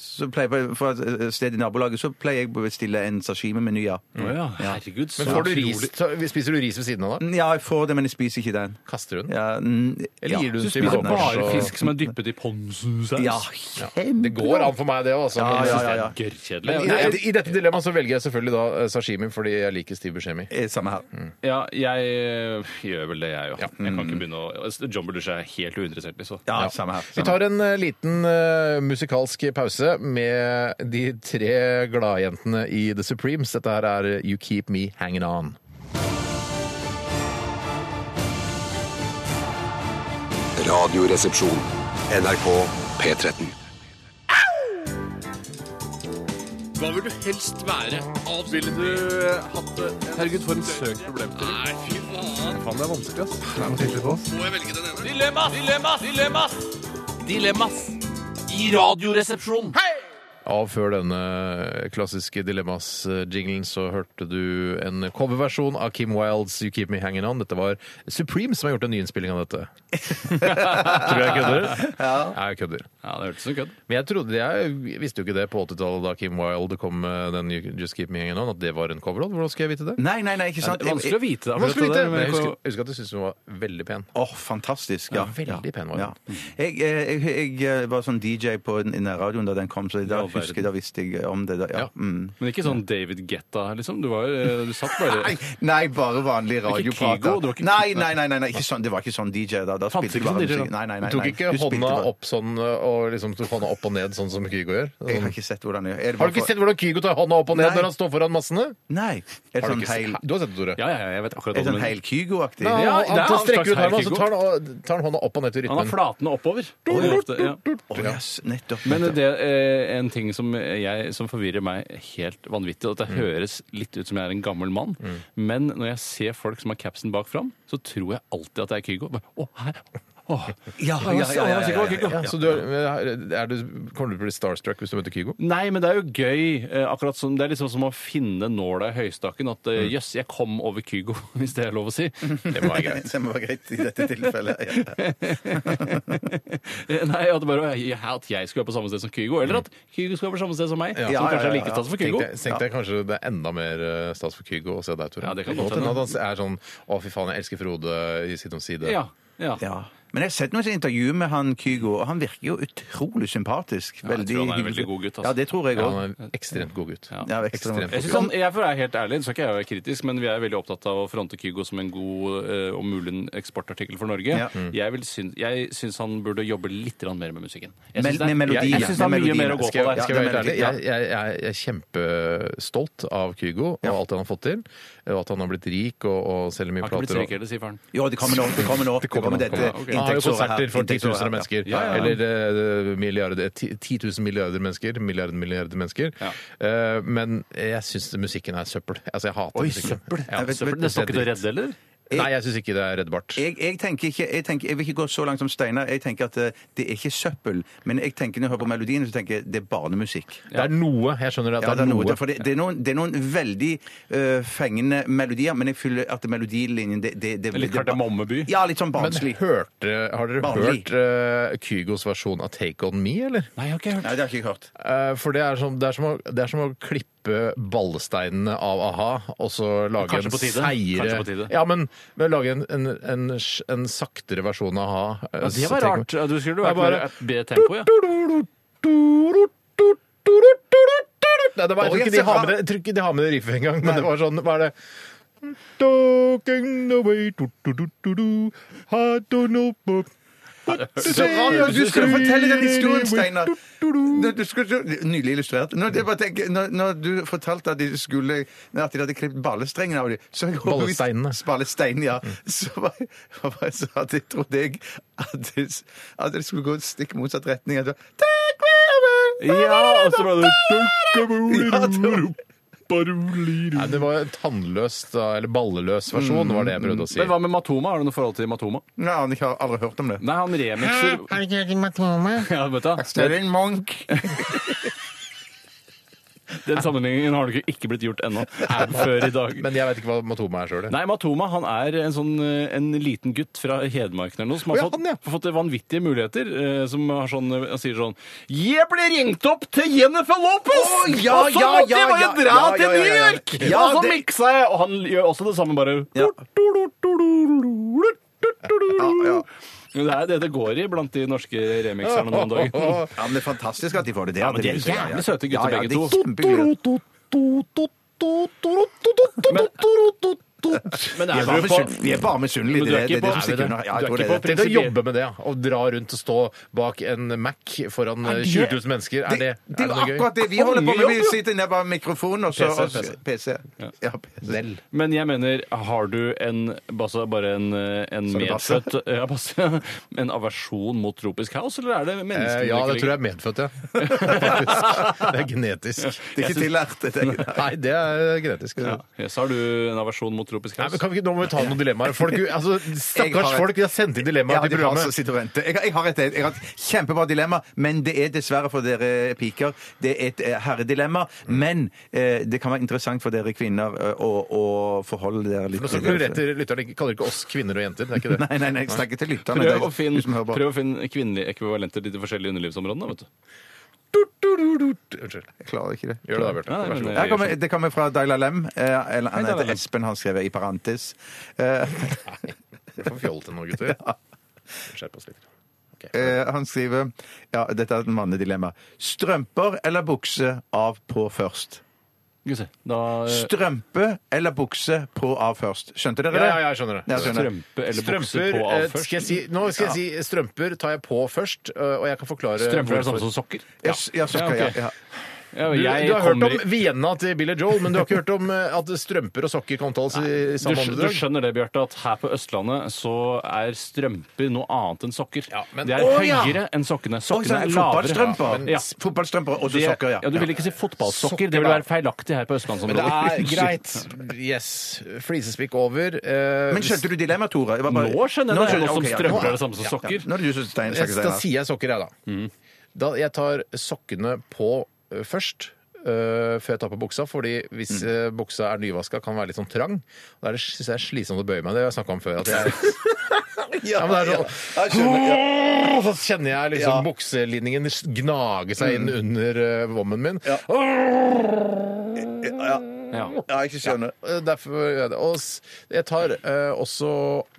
B: så pleier, jeg- fra et eh, sted i nabolaget, så pleier jeg å bestille en sashimi-meny, ja.
E: Å ja, herregud. så
C: Men får du
E: utrolig-
C: ris, så- spiser du ris ved siden av da?
B: Ja, jeg får det, men jeg spiser ikke den.
C: Kaster du den?
B: Ja, n-
C: Eller gir du den
E: Du
C: til
E: spiser
C: Bjarte?
E: bare
C: Så-
E: fisk som er dyppet i ponzu-saus.
B: Ja,
C: Det går an for meg, det òg. Altså.
E: Ja,
C: Men jeg
E: ja,
C: synes
E: ja, ja.
C: det er
E: Gørrkjedelig.
C: Men i, i, I dette dilemmaet så velger jeg selvfølgelig da eh, sashimi fordi jeg liker Steve Buscemi.
B: Eh, Samme her.
E: Ja, jeg øh, gjør vel det, jeg òg. Jeg kan ikke begynne å Altså, John Belushi er helt uinteressert, liksom.
B: Ja, samme her.
C: Vi tar en eh, liten eh, musikalsk pause med de tre gladjentene i The Supremes. Dette her er You Keep Me Hanging On.
I: Radioresepsjon. NRK P13.
E: Hva vil du helst være? Ville du hatt det? Herregud, for en søk problemstilling. Nei, fy faen. Faen, det er vanskelig, ass. Må jeg velge den ene? Dilemmas! Dilemmas! Dilemmas! Dilemmas i Radioresepsjonen.
C: Av før denne klassiske Dilemmas-jinglen så hørte du en coverversjon av Kim Wildes You Keep Me Hanging On. Dette var Supreme som har gjort en nyinnspilling av dette. Tror jeg kødder? Ja. Jeg kødder.
E: Ja, det hørtes som kødd.
C: Men jeg trodde, jeg visste jo ikke det på 80-tallet da Kim Wilde kom med den You Just Keep Me Hanging On, at det var en coverlåt. Hvordan skal jeg vite det?
B: Nei, nei, nei, ikke sant.
E: Det er vanskelig å vite.
C: Det er
E: da, for
C: vanskelig å vite,
E: dette der,
C: men jeg
E: men-
C: husker, jeg husker at jeg syntes hun var veldig pen.
B: Åh, fantastisk. Ja.
C: Ja, veldig pen var Mm. hun.
B: Jeg, eh, jeg, jeg var sånn DJ på den- den der radioen da den kom, så da
E: Ja, verden.
B: husker jeg, da visste jeg eh, om det. Da, ja.
E: Ja.
B: Mm.
E: Men ikke sånn David Getta, liksom. Du, var, eh, du satt bare
B: Nei, nei, bare vanlig
E: Kygo, det
B: radioprater.
E: var ikke-
B: Nei, nei, nei, nei, nei, ikke sånn, det var ikke sånn DJ da. da
E: Fantes
B: spilte
E: ikke
B: du bare
E: sånn DJ da?
B: musikk. Nei, nei, nei,
C: Du tok
B: nei.
C: ikke
B: Du spilte
C: hånda
B: bare-
C: opp sånn og liksom tok hånda opp og ned, sånn som Kygo gjør?
B: Jeg har
C: Sånn.
B: ikke sett hvordan jeg gjør. Er
C: Har
B: det bare
C: du ikke
B: for-
C: sett hvordan Kygo tar hånda opp og ned
B: Nei.
C: når han står foran massene?
B: Nei. Er det
C: Har du,
B: sånn
C: ikke sett?
B: heil,
C: du har sett det, Tore.
E: Ja, ja, ja, jeg vet
B: er det
E: akkurat hva du
B: sånn
E: mener.
B: heil Kygo-aktig?
C: Ja,
E: Ja,
C: han,
E: det er
C: han
E: en
C: strekker
E: slags
C: ut hånda,
E: heil
C: og så
E: Kygo.
C: tar han, tar han hånda opp og ned til
E: Han har
C: rytmen.
E: flatene oppover. Ofte, ja.
B: Å, yes, nettopp.
E: Men
B: nettopp.
E: det er en ting som, jeg, som forvirrer meg helt vanvittig, og at
B: Mm.
E: det høres litt ut som jeg er en gammel mann, men når jeg ser folk som har capsen bak fram, så tror jeg alltid at det er Kygo. Bare, Å, her! Å,
B: Ja, ja, ja,
E: å,
B: ja,
E: å,
B: ja, ja,
E: Kygo.
C: Ja, så du, er du, kommer du til å bli starstruck hvis du møter Kygo?
E: Nei, men det er jo gøy. eh, akkurat som, Det er liksom som å finne nåla i høystakken. At
B: Mm.
E: eh, jøss, jeg kom over Kygo, hvis det er lov å si.
C: Det må være greit.
B: Det må være greit i dette tilfellet. Ja.
E: Eh, Nei, at, det bare, at jeg skulle være på samme sted som Kygo, eller at Kygo skulle være på samme sted som meg.
C: Ja.
E: Som
B: Mm. Ja, ja,
E: kanskje er
B: ja,
E: like
B: ja.
E: stas for
C: Tenk
E: Kygo.
C: deg, tenk deg kanskje det er enda mer eh, stas for Kygo å se deg, Tore.
E: Ja, det kan godt
C: godt hende
E: hende.
C: at han er sånn Å, fy faen, jeg elsker Frode i Side om side.
E: Ja, ja.
B: Ja. Men jeg har sett noen intervju med han Kygo, og han virker jo utrolig sympatisk.
E: jeg tror han er en veldig god gutt, altså.
B: Ja, det tror jeg
C: Ja,
B: òg.
C: han er en ekstremt god gutt.
E: Ja.
B: Ja, ekstremt.
C: Ekstremt
E: Jeg synes han, jeg for å være helt ærlig, så skal jeg være kritisk, men vi er veldig opptatt av å fronte Kygo som en god eh, og mulig en eksportartikkel for Norge.
B: Ja.
E: Jeg, vil syn- jeg syns han burde jobbe litt grann mer med musikken. Jeg
B: Men-
E: syns det er-
B: med melodi,
E: jeg-
B: ja.
E: jeg syns det er
B: Med
E: mye
B: melodi,
E: mer å gå
B: skal
E: på
B: jeg-
E: der.
C: Skal jeg være helt ærlig,
B: Ja.
C: jeg, jeg, jeg er kjempestolt av Kygo og alt det han har fått til. Og at han har blitt rik og, og selger mye
E: Har ikke blitt
C: plater.
E: så
C: og-
E: rik heller, sier faren.
B: Jo, det kommer nå. Det kommer nå. Det kommer
C: nå,
B: dette
C: kommer nå.
E: Ok.
C: Han har jo
B: inntektsåret her.
C: konserter for
B: Inntektsåret
C: 10 000
B: her, ja.
C: mennesker.
E: Ja, ja, ja.
C: Eller eh, milliarder, ti- 10 000 milliarder mennesker. Milliarden milliarder mennesker. Eh, men jeg syns musikken er søppel. Altså, jeg hater musikken. Ja,
B: Jeg vet-
E: Søppel,
B: vet-
E: Det står ikke til å redde, eller?
C: Nei, jeg syns ikke det er reddbart.
B: Jeg, jeg, tenker ikke, jeg, tenker, jeg vil ikke gå så langt som Steinar. Jeg tenker at eh, det er ikke søppel. Men jeg tenker, når jeg hører på melodien, så tenker jeg det er barnemusikk.
C: Det er noe. Jeg skjønner at
B: Ja,
C: det er noe.
B: for det, det, er noen, det er noen veldig eh, fengende melodier, men jeg føler at melodilinjen det, det, det,
E: Litt
B: det-
E: Kardemommeby?
B: Ja, litt sånn
C: Men
B: barnslig.
C: hørte, har dere
B: Vanlig.
C: hørt eh, Kygos versjon av Take On Me, eller?
E: Nei, jeg har ikke hørt.
B: Nei, det har ikke jeg hørt.
C: Eh, for det er, som, det, er som å, det er som å klippe ballesteinene av a-ha, og så lage
E: Kanskje
C: en
E: på tide.
C: seire
E: Kanskje på tide.
C: Ja, men, men lage en, en, en, sj- en saktere versjon av a-ha. eh,
E: Ja, det
C: så
E: var
C: tenker
E: rart. Du skulle
C: Det er
E: vært mer
C: bare-
E: et bedre tempo, ja.
C: Nei, det var, jeg, tror ikke de har med det, jeg tror ikke de har med det riffet engang, men det var sånn Hva er det? Talking the way do, do, do, do, do. I don't know, but
B: Så rart. Du skulle fortelle den historien, Steinar. Nå, Du skulle, nylig illustrert. Når, det bare tenker, når, når du fortalte at de skulle At de hadde klippet ballestrengen av dem
C: Ballesteinene. Mm.
B: Ballesteinen, ja. Så var jeg, var jeg så at jeg trodde jeg at det, at det skulle gå i stikk motsatt retning. At det var, Take me away!
E: Ja, og
B: altså,
E: så ble det
B: Ja, det var-
C: Nei, det var en tannløs, da, eller balleløs versjon, var det jeg prøvde å si.
E: Men hva med Matoma? Har du noe forhold til Matoma?
B: Nei, han har ikke- aldri hørt om det.
E: Nei, han remixer
G: Har du hørt om Matoma?
E: ja, vet du.
B: Sterling Monk.
E: Den sammenligningen har nok ikke blitt gjort ennå. Før i dag.
C: Men jeg vet ikke hva Matoma er sjøl.
E: Nei, Matoma han er en, sånn, eh, en liten gutt fra Hedmarken eller noe, som
C: Å
E: har
C: ja,
E: fått, fått vanvittige muligheter. eh, Som har sånn, eh, han sier sånn Jeg ble ringt opp til Jennifer Lopez!
B: ja,
E: og så
B: ja,
E: måtte
B: ja,
E: jeg bare
B: ja,
E: dra
B: ja,
E: til
B: ja, ja,
E: New
B: ja.
E: York!
B: Ja,
E: og så
B: det-
E: miksa jeg! Og han gjør også det samme, bare Men Det, er, det det går i blant de norske remixerne nå om dagen.
B: Ja, men Det er fantastisk at de får det.
E: Ja, men de er jævlig søte
B: ja, ja,
E: gutter, begge
B: de
E: to.
B: er kjempegøy.
E: Men
B: Vi er bare misunn- vi er bare misunnelige,
C: Men du
B: det-
C: er
B: det er
C: ikke
B: det
C: på-
B: som stikker under. Ja, jeg
C: Du
B: tror
C: er
B: det
C: ikke
B: er
C: på
B: det.
C: til å jobbe med det, ja. Å dra rundt og stå bak en Mac foran eh, 20 000 mennesker. Er det, er
B: Det er jo
C: noe gøy?
B: akkurat det vi holder på med. Vi
E: Kongejobb, jo.
B: sitter nede bak mikrofonen og så
C: PC,
B: og så- PC. Ja, PC.
E: Men jeg mener, har du en altså bare en, eh, en
B: Sorry, Basse.
E: medfødt ja, Basse, en aversjon mot tropisk house, eller er det
C: Eh,
E: menneskene
C: ja,
E: du
C: det
E: ikke
C: tror jeg er medfødt, ja. Faktisk. Det er genetisk.
B: Det er ikke tillært. det er ikke-
C: Nei, det er genetisk.
E: liker? Ja. Yes, har du en aversjon mot tropisk
C: Nei,
E: house?
C: men kan vi ikke, nå må vi ta noen dilemmaer. Folk, altså,
B: Jeg
C: stakkars
B: har-
C: folk, de har sendt inn
B: Ja,
C: dilemmaer
B: de
C: til
B: har så
C: programmet.
B: sitter og venter. Jeg, jeg har et, jeg har et kjempebra dilemma, men det er dessverre for dere piker Det er et eh, herredilemma, men eh, det kan være interessant for dere kvinner eh, å, å forholde dere litt
C: Nå skal du rette lytterne, ikke- kaller ikke oss kvinner og jenter, det er ikke det.
B: Nei, nei, nei, jeg snakker til lytterne. Det
E: Prøv
B: er
E: å, finne,
B: du som hører på.
E: prøv å finne kvinnelige ekvivalenter til de forskjellige underlivsområdene. vet du.
C: Unnskyld.
B: Jeg klarer ikke det.
C: Gjør det da, Bjarte.
E: Nei, nei,
C: Vær så
E: men-
C: god.
B: Her kommer, det kommer fra Daila Lem. Eh, eller, han
E: Daila
B: heter
E: Lem.
B: Espen, han skrev i parentes. Eh,
C: Det er for fjollete nå, gutter. Skjerp oss litt.
B: eh, han skriver Ja, dette er et mannedilemma. Strømper eller bukse av på først?
E: Skal vi se. Da, eh,
B: Strømpe eller bukse på av først? Skjønte dere
C: Ja,
B: det?
C: ja, jeg skjønner det.
B: Ja, skjønner.
E: strømpe eller bukse
C: Strømper
E: på
C: eh,
E: av først?
C: skal jeg si, Nå skal jeg si strømper tar jeg på først, eh, og jeg kan forklare
E: Strømper er det
C: hvorfor.
E: samme som sokker?
B: Ja, s- ja, så,
E: Ja,
B: ja,
E: ok.
B: ja.
E: Ja,
C: Du,
E: jeg
C: du har hørt
E: kommer i-
C: om Vienna til Billy Joel, men du har ikke hørt om eh, at strømper og sokker kan omtales i
E: du,
C: samme
E: skj- du
C: åndedrag?
E: skjønner det, Bjarte, at her på Østlandet så er strømper noe annet enn sokker.
C: Ja, men-
E: det er
C: Å, ja!
E: høyere enn sokkene.
B: Oi,
E: Sokkene
B: sånn,
E: er lavere.
B: fotballstrømper.
C: Ja, men-
E: Ja.
B: S- Fotballstrømper og så
E: Det-
B: sokker, ja.
E: ja, du vil ikke si
C: Sokker,
E: fotballsokker. Det vil
C: da.
E: være feilaktig her på
C: Men det
E: østlandsområdet.
C: er greit. Yes. Flisespikk over. eh,
B: Men skjønte du dilemmaet, Tore? Jeg var bare-
E: Nå skjønner jeg det. Nå som
B: ok, ja, nå-
E: strømper er sånn. det samme som
B: Ja,
E: sokker.
B: nå er det du som stein-
C: Jeg,
B: snakker,
C: da
B: Steinar.
C: sier jeg sokker, jeg, da.
E: Mm.
C: da. Jeg tar sokkene på ø, først. ø, før jeg tar på buksa, fordi hvis
E: Mm.
C: ø, buksa er nyvaska, kan den være litt sånn trang. Da er det synes jeg er slitsomt å bøye meg. Det har jeg snakka om før. At jeg, ja, men det er sånn, Åh, så kjenner jeg liksom bukselinningen gnage seg inn under ø, vommen min.
E: Ja.
B: Ja, jeg skjønner.
C: Ø, Derfor, gjør jeg det. og s- jeg tar ø, også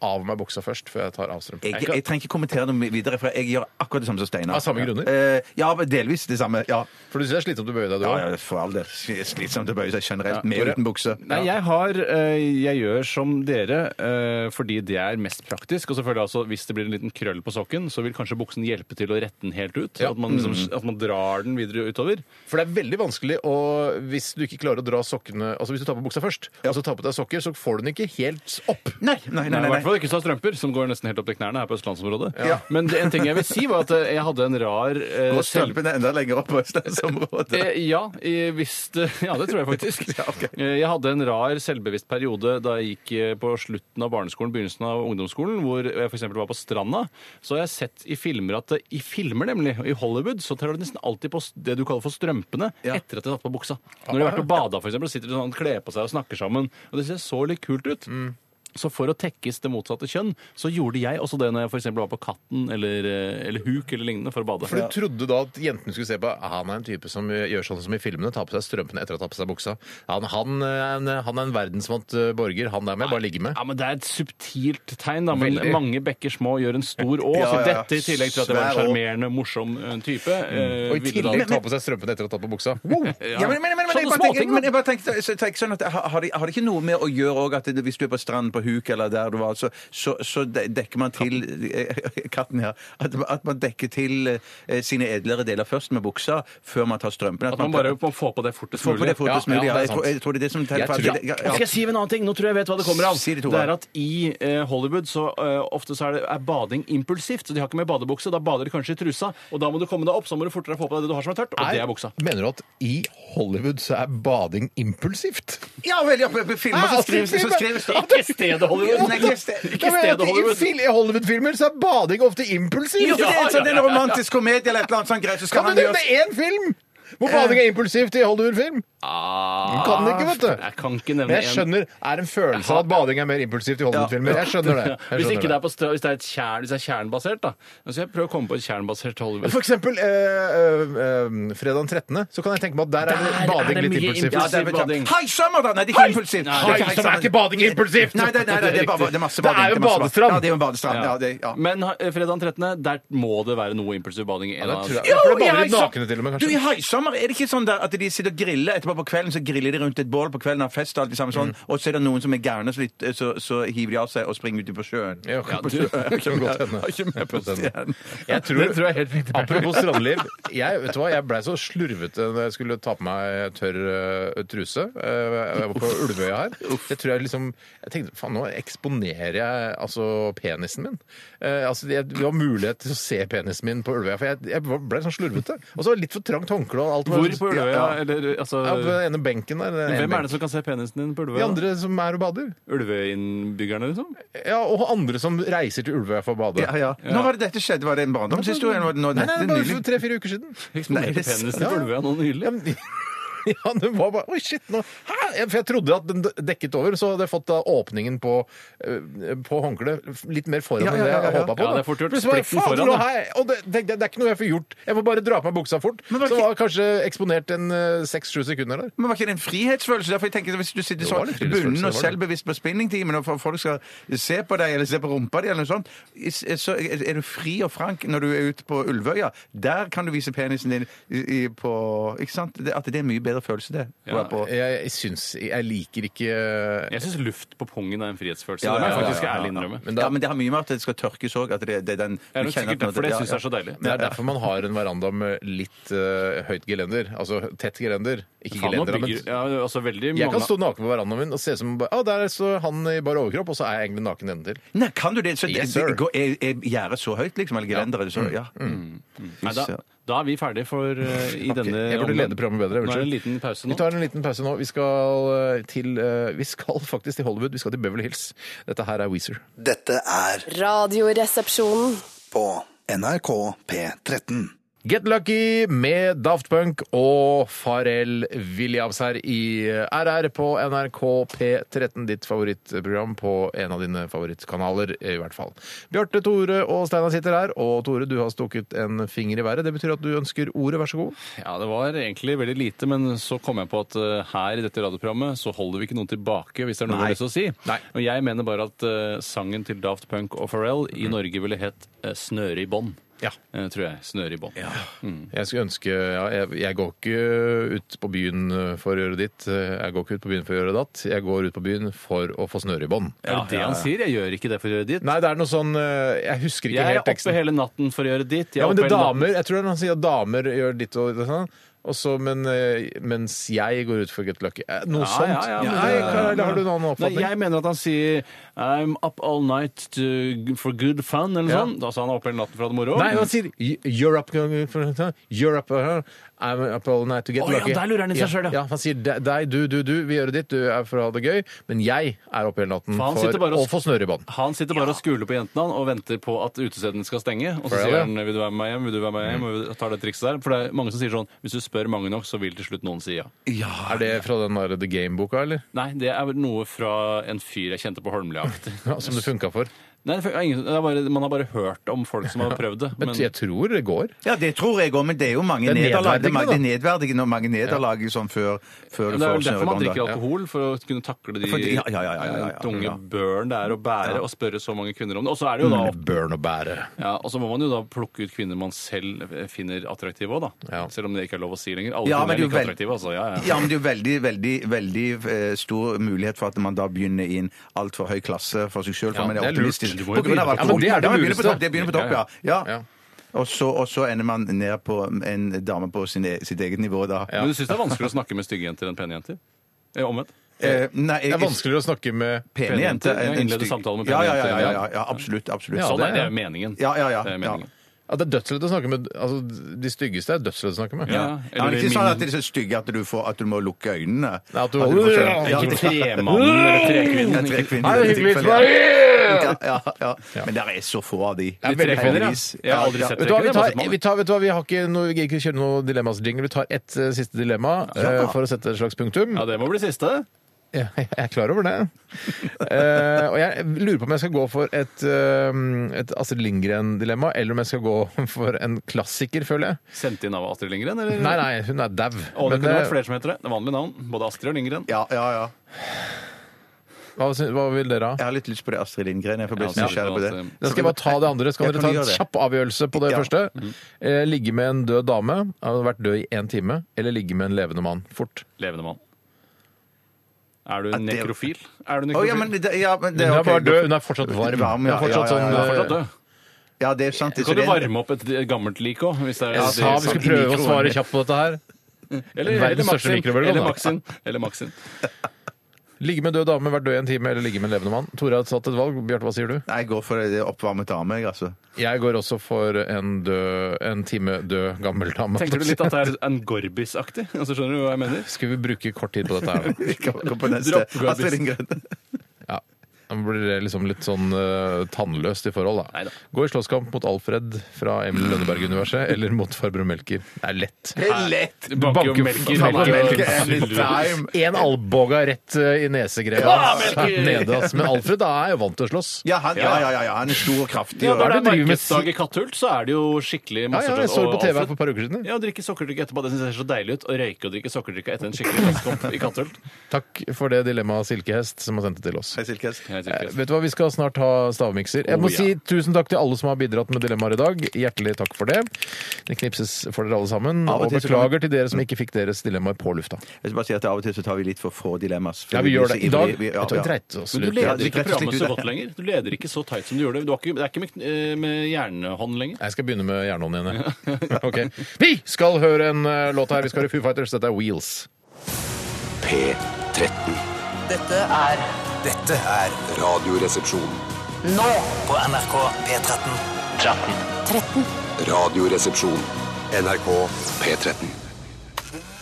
C: av meg buksa først, før jeg tar av strømpa.
B: Jeg, jeg trenger ikke kommentere noe videre, for jeg gjør akkurat det samme som Steinar.
C: Av samme grunner?
B: Eh, ja, men delvis det samme. Ja,
C: For du synes det er slitsomt å bøye deg, du
B: ja,
C: òg?
B: ja for all del. Slitsomt å bøye seg generelt,
E: Ja.
B: med
E: Tore?
B: uten bukse.
E: Nei, jeg har eh, Jeg gjør som dere eh, fordi det er mest praktisk. Og selvfølgelig altså hvis det blir en liten krøll på sokken, så vil kanskje buksen hjelpe til å rette den helt ut.
C: Ja.
E: At, man liksom, at man drar den videre utover.
C: For det er veldig vanskelig å, hvis du ikke klarer å dra sokkene Altså hvis du tar på buksa først, og så tar på deg sokker, så får du den ikke helt opp.
B: Nei, nei, nei,
E: Nei, I
B: nei,
E: hvert
B: nei.
E: fall ikke så strømper, som går nesten helt opp til knærne her på østlandsområdet.
B: Ja.
E: Men det, en ting jeg vil si, var at eh, jeg hadde en rar eh,
B: Gå
E: selv-
B: strømpene enda lenger opp på østlandsområdet.
E: Eh, ja, i- hvis det, ja, det tror jeg faktisk. Eh, Jeg hadde en rar selvbevisst periode da jeg gikk eh, på slutten av barneskolen, begynnelsen av ungdomsskolen, hvor jeg f.eks. var på stranda. Så har jeg sett i filmer at eh, i filmer, nemlig, i Hollywood, så tar du nesten alltid på s- det du kaller for strømpene
B: Ja.
E: etter at de har tatt på buksa. Når de har vært og bada, f.eks., sitter de sånn og kler på seg og snakker sammen. Og det ser så litt kult ut. Så for å tekkes det motsatte kjønn, så gjorde jeg også det når jeg for eksempel var på Katten eller, eh, eller Huk eller lignende for å bade.
C: For du trodde da at jentene skulle se på «Ah, han er en type som gjør sånn som i filmene, tar på seg strømpene etter å ha tatt på seg buksa. Han, han, er en- han er en verdensvant eh, borger, han der må jeg bare ligge med.
E: Ja, men Det er et subtilt tegn, da. Men
C: Veldig.
E: mange bekker små gjør en stor å.
B: Ja,
E: Så
B: ja, ja.
E: dette i tillegg til at det var
B: Svær
E: en
B: å. Mm.
E: sjarmerende, morsom eh, type. eh,
C: Og i
E: ville da-
C: tillegg ta på seg strømpene etter å ha tatt på buksa. Wow!
B: Ja, men, men, men, men, jeg
E: eh, Sånne
B: bare
E: småting,
B: tenker,
E: da.
B: men jeg bare tenkte, så jeg tenker sånn at har har det, har det ikke noe med å gjøre også at det, hvis du er på stranden på huk eller der du var, så, så, så de- dekker man til eh, Katten, ja. At, at man dekker til eh, sine edlere deler først med buksa, før man tar strømpen.
E: At man bare må få på det fortest
B: Få på det
E: mulig.
B: fortest
E: Ja, ja,
B: mulig. Ja,
E: det er
B: jeg, tror,
E: sant.
B: jeg tror det er det som
E: Jeg tror-
B: teller.
E: Ja, Skal jeg si en annen ting? Nå tror jeg jeg vet hva det kommer av.
B: Si det,
E: det,
B: Tore.
E: er at I eh, Hollywood så eh, ofte så er, det, er bading impulsivt. så De har ikke med badebukse. Da bader de kanskje i trusa. og Da må du komme deg opp, så må du fortere få på deg det du har som er tørt. Og det er buksa.
C: Mener du at i Hollywood så er bading impulsivt?
B: Ja, veldig oppe på filmer så skrives det så skrives Ah, det.
E: Ikke stedet Hollywood.
B: Nei, ikke stedet-
C: Jeg mener at I fil- i Hollywood-filmer så er bading ofte impulsivt!
B: Jo, for det er en sånn en romantisk komedie eller et eller annet sånt greit, så skal
C: Kan
B: han
C: du
B: gjøre
C: nevne én film hvor bading er impulsivt i Hollywood-film?
B: Ah.
C: Kan det ikke, vet du.
E: Jeg kan ikke
C: Men
E: nevne
C: jeg skjønner, er en følelse av at bading er mer impulsivt i Hollywood-filmer. Jeg skjønner det. Jeg
E: Hvis,
C: skjønner
E: ikke det. er på strø, hvis det er et tjern, hvis det er tjernbasert, da. Nå skal jeg prøve å komme på et tjernbasert Hollywood.
C: For eksempel eh, eh, eh, fredag den 13. Så kan jeg tenke meg at der er det
E: Der er
C: bading
E: det
C: litt
E: mye
C: impulsivt.
E: impulsiv
C: Ja, det er-
E: bading.
B: Hei, sommer, da! Nei, det er ikke impulsivt.
E: Nei,
B: Det
C: Hei, som er ikke bading impulsivt!
B: Nei, nei, nei, nei, det er bare- det er masse
C: Det
B: bading,
C: er jo
B: det er masse bading.
C: badestrand!
B: Ja, det er jo en badestrand, ja, det- ja.
E: Men eh, fredag den 13., der må det være noe impulsiv bading. i en
C: det
E: av-
C: tror jeg.
B: Jo,
C: For da bader
B: i
C: de
B: Haisommer-
C: nakne til og med, kanskje.
B: Du, I Haisommer er det ikke sånn der at de sitter og griller etterpå på kvelden, så griller de rundt et bål på kvelden, har fest og alt det samme sånn,
C: Mm.
B: og så er det noen som er gærne, så, de- så, så hiver de av seg og springer ut på sjøen.
C: Ja, kan
B: På
C: du-
B: sjøen.
C: kan godt hende.
B: Har ikke med på
C: Kan godt hende.
B: stjernen.
C: Jeg tror,
E: Det tror jeg helt riktig.
C: Apropos strandliv. Jeg, vet du hva, jeg blei så slurvete når jeg skulle ta på meg tørr eh, truse. Eh, Jeg var på Ulvøya her. Jeg tror jeg liksom Jeg tenkte faen, nå eksponerer jeg altså penisen min. Eh, altså, det, det var mulighet til å se penisen min på Ulvøya, for jeg, jeg var- ble sånn slurvete. Og så var det litt for trangt håndkle og alt. var-
E: Hvor på Ulvøya?
C: Ja,
E: Eller, altså,
C: ja, på den ene benken der. Den ene
E: hvem er
C: benken.
E: det som kan se penisen din på
C: De
E: Ulvøya?
C: andre som er og bader.
E: Ulveinnbyggerne, liksom?
C: Ja, Og andre som reiser til Ulvøya for å bade.
B: Ja, ja. Når var det dette skjedde? Var det en barndomshistorie? eller var det nå
C: Nei, nei,
B: nettet
C: det var
B: nylig?
C: for tre-fire uker siden.
B: Nei,
E: Eksponerte
B: det er
E: penisen
B: sant.
E: på Ulvøya nå nylig?
C: Ja, men- Ja, det var bare Oi, shit! Nå. Hæ? Jeg- For jeg trodde at den d- dekket over, så hadde jeg fått da åpningen på, eh, på håndkleet litt mer foran
B: Ja, ja,
C: enn det
B: ja,
C: jeg
B: ja, ja.
C: håpa på.
E: Ja,
C: da.
E: det er fort gjort.
C: Plutselig var jeg,
E: Sprekken
C: fader,
E: foran,
C: nå
E: da.
C: har jeg- Og det, det, det er ikke noe jeg får gjort. Jeg må bare dra på meg buksa fort.
B: Men var
C: så
B: ikke-
C: var jeg kanskje eksponert en eh, seks-sju sekunder der.
B: Men var ikke det en frihetsfølelse? Derfor jeg tenker Hvis du sitter
C: Det
B: så
C: var litt frihetsfølelse,
B: bunden
C: det
B: og
C: var det.
B: selvbevisst på spinningtimen, og for- folk skal se på deg eller se på rumpa di, eller noe sånt, is- eh, så er du fri og frank når du er ute på Ulvøya. Der kan du vise penisen din i, i, på Ikke sant? Det, at det er en mye bedre følelse, det. tror jeg på.
C: Jeg, jeg syns Jeg liker ikke eh,
E: Jeg syns luft på pungen er en frihetsfølelse.
B: Ja,
E: det
B: ja,
E: må jeg
B: ja,
E: faktisk
B: ja, ja,
E: ærlig
B: ja.
E: innrømme.
C: Men da-
B: ja, men det har mye med at det skal tørkes òg. Det, det er den
E: Det er
B: du kjenner at
E: nok sikkert
B: når
E: derfor det
B: ja,
E: syns jeg er så deilig.
C: Det er derfor man har en veranda med litt eh, høyt gelender. Altså tett gelender. Ikke
E: Faen, nå
C: gelender, men
E: bygger, ja, altså, veldig
C: Jeg
E: mange
C: kan stå naken på verandaen min og se som bare, «Å, Der står han i bare overkropp, og så er jeg egentlig naken nedentil.
B: ja. Nei, kan du det? Så det,
C: Yes, sir. Mm.
B: det går, er, er gjerdet så høyt, liksom? Eller gelenderet? så- Ja.
E: Nei, da, da er vi ferdige for eh, i denne
C: Jeg burde lede programmet bedre.
E: Nå er det en
C: Unnskyld.
E: liten pause
C: Vi
E: nå.
C: tar en liten pause nå. Vi skal, eh, til, eh, vi skal faktisk til Hollywood. Vi skal til Beverly Hills. Dette her er Weezer.
K: Dette er
H: Radioresepsjonen.
K: på NRK P13.
C: Get Lucky med Daft Punk og Pharrell Williams her i RR på NRK P13, ditt favorittprogram på en av dine favorittkanaler, i hvert fall. Bjarte, Tore og Steinar sitter her, og Tore, du har stukket en finger i været. Det betyr at du ønsker ordet, vær så god.
E: Ja, det var egentlig veldig lite, men så kom jeg på at eh, her i dette radioprogrammet så holder vi ikke noen tilbake hvis det er noe vi har lyst til å si.
C: Nei.
E: Og jeg mener bare at eh, sangen til Daft Punk og Pharrell i Norge ville hett eh, 'Snøre i bånd'.
C: Mm. Ja.
E: Eh, tror jeg. Snøre i bånd.
C: Jeg skulle ønske ja, jeg, jeg går ikke ut på byen for å gjøre ditt. Jeg går ikke ut på byen for å gjøre datt. Jeg går ut på byen for å få snøre i bånd.
E: Er det det han sier? Jeg gjør ikke det for å gjøre ditt.
C: Nei, det er noe sånn eh, Jeg husker ikke
E: Jeg er
C: helt
E: oppe
C: teksten.
E: hele natten for å gjøre ditt. Jeg
C: Ja, men det er
E: oppe hele natten-
C: damer, Jeg tror det er han sier at damer gjør ditt og og sånn. Og så, men eh, mens jeg går ut for get lucky Eh, Noe sånt.
E: men
C: Nei,
E: det-
C: hva- eller har du en annen oppfatning?
E: Nei, jeg mener at han sier 'I'm up all night to, for good fun', eller noe
C: Ja.
E: sånt. Altså han er oppe hele natten for å ha det moro.
C: Nei, han sier "Y- You're up, uh, you're up uh, I'm up all night to get
E: Å, ja,
C: lucky.
E: der lurer han i seg selv, ja.
C: ja. Han sier "De- deg, du, du, du, vi gjør det ditt, du er for å ha det gøy, men jeg er oppe hele natten
E: For han
C: for,
E: sitter bare
C: å
E: og-
C: få snøre i bånd.
E: Han sitter bare og skuler på jentene han, og venter på at utestedene skal stenge. Og så
C: Forever.
E: sier han 'vil du være med meg hjem', vil du være med meg hjem, og tar det trikset der. For det er mange som sier sånn 'hvis du spør mange nok, så vil til slutt noen si ja'.
C: Er det fra den der The Game-boka, eller?
E: Nei, det er vel noe fra en fyr jeg kjente på Holmlia.
C: Ja, som det funka for.
E: Nei, det er ingen, det er bare, man har bare hørt om folk som har prøvd det.
C: Men jeg tror det går.
B: Ja, det tror jeg òg, men det er jo mange
E: Det er
B: nederlag. Det er
E: nedverdigende,
B: mange- det er
E: da.
B: nedverdigende og mange nederlag sånn før, før du
E: Men det
B: får
E: er vel derfor man
B: snørebånd, da.
E: drikker alkohol, for å kunne takle de
B: For- ja, ja, ja, ja, ja, ja.
E: tunge
B: Ja.
E: børen det er å bære, og spørre så mange kvinner om det. Og så er det jo da
B: Mm.
C: Børn og bære.
E: ja, og så må man jo da plukke ut kvinner man selv eh, finner attraktive òg, da. Selv om det ikke er lov å si lenger. Alle
B: Ja, men
E: kvinner er
B: det er jo vel-
E: like attraktive, altså. Ja, ja.
B: Ja, men det er jo veldig, veldig, veldig eh, stor mulighet for at man da begynner i en altfor høy klasse for seg sjøl.
C: Ja,
B: for man
C: det
B: er
C: er lurt.
B: optimistisk.
C: Du må jo
B: På grunn av
C: begynne på topp. Ja, men det
B: alkohol.
C: er det
B: Ja, man begynner på
C: lureste.
B: topp, det begynner på topp, ja. ja. Og, så, og så ender man ned på en dame på sin, e- sitt eget nivå da.
E: Men du syns det er vanskelig å snakke med stygge jenter enn pene jenter? Eh, Omvendt?
B: Eh, nei, jeg-
C: Det er vanskeligere å snakke med
B: Pene jenter
E: Ja,
B: enn
E: innlede
B: stygg-
E: samtale med
B: ja,
E: pene
B: ja, ja,
E: jenter,
B: ja,
E: ja.
B: ja, ja, absolutt. absolutt.
C: Ja,
E: Sånn
C: det
E: er
C: er-
E: det jo meningen.
B: Ja, ja, ja.
E: Det er meningen.
C: Ja, det er dødslett å snakke med altså, De styggeste er dødslett å snakke med.
B: Ja, men ikke sånn at det er så stygge at du, får, at du må lukke øynene.
C: Nei, at du-
B: du får se-
C: Ikke
B: Ja.
C: tremannen eller trekvinnen.
B: Ja, trekvinnen.
C: Nei, det er hyggelig,
B: Ja,
C: Sverige!
B: Ja, ja, ja. Men der er så få av de.
C: Det er veldig
B: Heldigvis.
C: få.
B: Ja, ja.
C: Vet du hva, vi tar, vi tar, vet du hva, vi har ikke noe, vi gidder ikke kjøre noe dilemmas-jingle. Vi tar ett eh, siste dilemma eh, for å sette et slags punktum.
E: Ja, det må bli siste.
C: Ja, jeg er klar over det. Eh, og jeg lurer på om jeg skal gå for et, eh, et Astrid Lindgren-dilemma, eller om jeg skal gå for en klassiker, føler jeg.
E: Sendt inn av Astrid Lindgren, eller?
B: Mm.
C: Nei, nei, hun er dau.
E: Å,
C: Men,
E: det kunne
C: eh,
E: vært flere som heter det. Det er vanlig navn. Både Astrid og Lindgren.
B: Ja, ja, ja.
C: Hva, sy- hva vil dere ha?
B: Jeg har litt lyst på det Astrid Lindgren. Jeg får bli
E: Ja,
B: så nysgjerrig på det.
E: altså,
C: Da skal jeg bare ta det andre. Så kan
B: Jeg
C: dere
B: kan
C: ta en
B: gjøre det.
C: kjapp avgjørelse på det
B: Ja. Mm.
C: første. Eh, ligge med en død dame, har vært død i én time, eller ligge med en levende mann fort.
E: Levende mann. Er du
C: Ja, det-
E: nekrofil? Er du
B: Å,
E: nekrofil?
B: ja, men det, ja, men det
C: Hun er
B: ok.
C: bare død, hun er fortsatt varm.
B: Varm, ja,
C: Hun er fortsatt sånn, eh,
B: ja, ja, ja,
E: Du
B: ja.
E: er fortsatt død.
B: Ja, det er sant. det er
E: Kan
B: så
E: du
B: det-
E: varme opp et gammelt lik òg?
C: Jeg sa vi skulle prøve å svare kjapt på dette her.
E: Eller, eller
C: Verdens største
E: Maxin.
C: mikrobølgeovn,
E: Eller
C: da.
E: Maxin. Eller Maxin.
C: Ligge med en død dame, vært død i en time, eller ligge med en levende mann. Tore har tatt et valg. Bjarte, hva sier du?
B: Nei, jeg går for det oppvarmet dame, jeg, altså.
C: Jeg går også for en, død, en time død gammel dame.
E: Tenker du litt at det er en Gorbis-aktig? Altså, skjønner du hva jeg mener?
C: Skal vi bruke kort tid på dette her? nå?
B: Vi kan gå på neste.
E: Dropp Gorbis.
B: Astrid Lindgren.
C: Ja. Da blir det liksom litt sånn eh, tannløst i forhold, da. Gå i slåsskamp mot Alfred fra Emil i Lønneberg-universet, eller mot farbror Melker. Det er lett.
B: Det er lett.
E: Du banker jo
C: Banker
E: melker.
C: faen
E: melker,
C: meg
E: melker,
C: melker
E: melker,
B: Time.
C: En alboga rett eh, i nesegreia.
E: Ah,
C: ass.
E: Melker!
C: Nede, ass. Men Alfred da, er jo vant til å slåss.
B: Ja, han, ja, ja, ja, ja, han er stor og kraftig.
E: Ja,
B: og-
E: Når
C: Hva er
E: det
C: det du
E: er
C: driver med?
E: markedsdag i Katthult, så er det jo skikkelig
C: Ja,
E: masse sånn-
C: ja, jeg så det på TV her for et par uker siden.
E: Ja, å drikke sokkerdrikk etterpå. Det syns jeg ser så deilig ut. Å røyke og drikke sokkerdrikk etter en skikkelig landskamp i Katthult.
C: Takk for det dilemmaet Silkehest som har sendt det til oss.
B: Hei, Silkes.
E: Jeg
C: Eh,
E: tror ikke-
C: Vet du hva, Vi skal snart ha stavmikser. Jeg
E: Oh,
C: må
E: ja.
C: si Tusen takk til alle som har bidratt med dilemmaer i dag. Hjertelig takk for det. Det knipses for dere alle sammen.
B: Av og
C: Og,
B: til så kan-
C: beklager til dere som ikke fikk deres dilemmaer på lufta.
B: Jeg skal bare si at Av og til så tar vi litt for få dilemmas. for
C: Ja, vi
B: blir
C: gjør
B: så
C: det. I
B: ivrige.
C: dag
B: Vi- ja,
C: vet du, vi
B: ja.
C: dreit oss
E: Men du
C: litt.
B: Ja,
E: leder
B: det er
E: ikke
B: rett og slett
E: programmet så
B: ut.
E: godt lenger. Du leder ikke så tight som du gjorde. Du har ikke, det er ikke med, eh, med jernhånd lenger.
C: Jeg skal begynne med jernhånden igjen. jeg. Ok. Vi skal høre en eh, låt her. Vi skal høre Foo Fighters. Dette er Wheels.
I: P13.
L: Dette er
K: Dette er
I: Radioresepsjon.
L: nå
G: På NRK P13.
L: 13.
H: 13.
I: Radioresepsjon. NRK P13.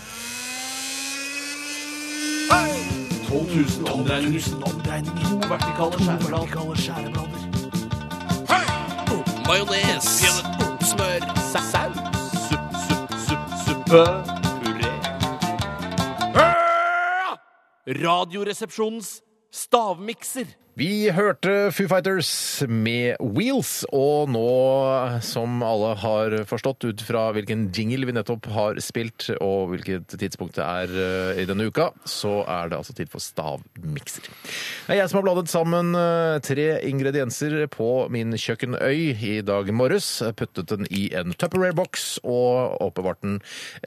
E: 12 000 omdreininger. To vertikale skjæreblader. Majones. Smør. Saus. Supp, supp, supp, suppe. Puré. Radioresepsjonens stavmikser.
C: Vi hørte Foo Fighters med Wheels, og nå som alle har forstått ut fra hvilken jingle vi nettopp har spilt, og hvilket tidspunkt det er eh, i denne uka, så er det altså tid for stavmikser. Det er jeg som har bladet sammen eh, tre ingredienser på min kjøkkenøy i dag morges. Jeg Puttet den i en Tupperware-boks og oppbevarte den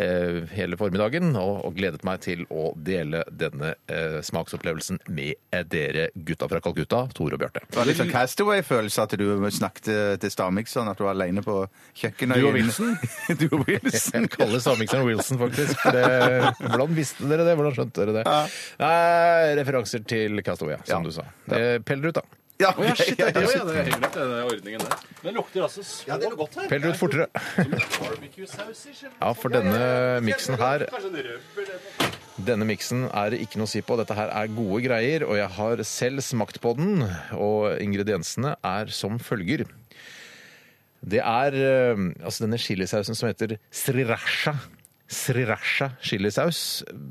C: eh, hele formiddagen, og, og gledet meg til å dele denne eh, smaksopplevelsen med dere gutta fra Kalkutta, Tore og Bjarte.
B: Det var litt sånn Castaway-følelse at du snakket til stavmikseren, at du var alene på kjøkkenet.
C: Du og Wilson?
B: du og Wilson.
C: Jeg kaller stavmikseren Wilson, faktisk. for Det, hvordan visste dere det? Hvordan skjønte dere det? Nei, referanser til Castaway, som du sa. Eh, Pellerud, da.
B: Ja,
E: Å ja, shit, det
B: ja, ja,
E: er gøy,
B: ja.
E: ja, det er hyggelig, den ordningen der. Den lukter altså så godt her.
C: Pellerud fortere. Ja, for denne miksen her Denne miksen er det ikke noe å si på. Dette her er gode greier, og jeg har selv smakt på den. Og ingrediensene er som følger. Det er eh, altså denne chilisausen som heter sriracha. Sriracha chilisaus.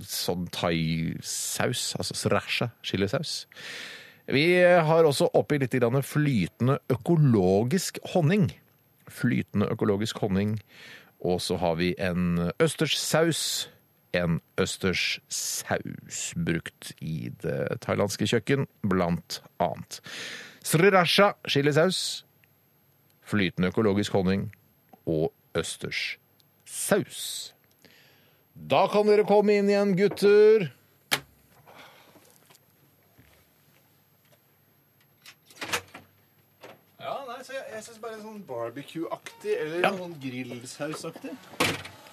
C: Sånn thaisaus. Altså sriracha chilisaus. Vi har også oppi litt grann flytende økologisk honning. Flytende økologisk honning. Og så har vi en østers saus. En østers saus brukt i det thailandske kjøkken, blant annet. Srirasha chilisaus, flytende økologisk honning og østers saus. Da kan dere komme inn igjen, gutter.
M: Ja, nei, så jeg, jeg syns bare sånn barbecue-aktig eller sånn grillsausaktig.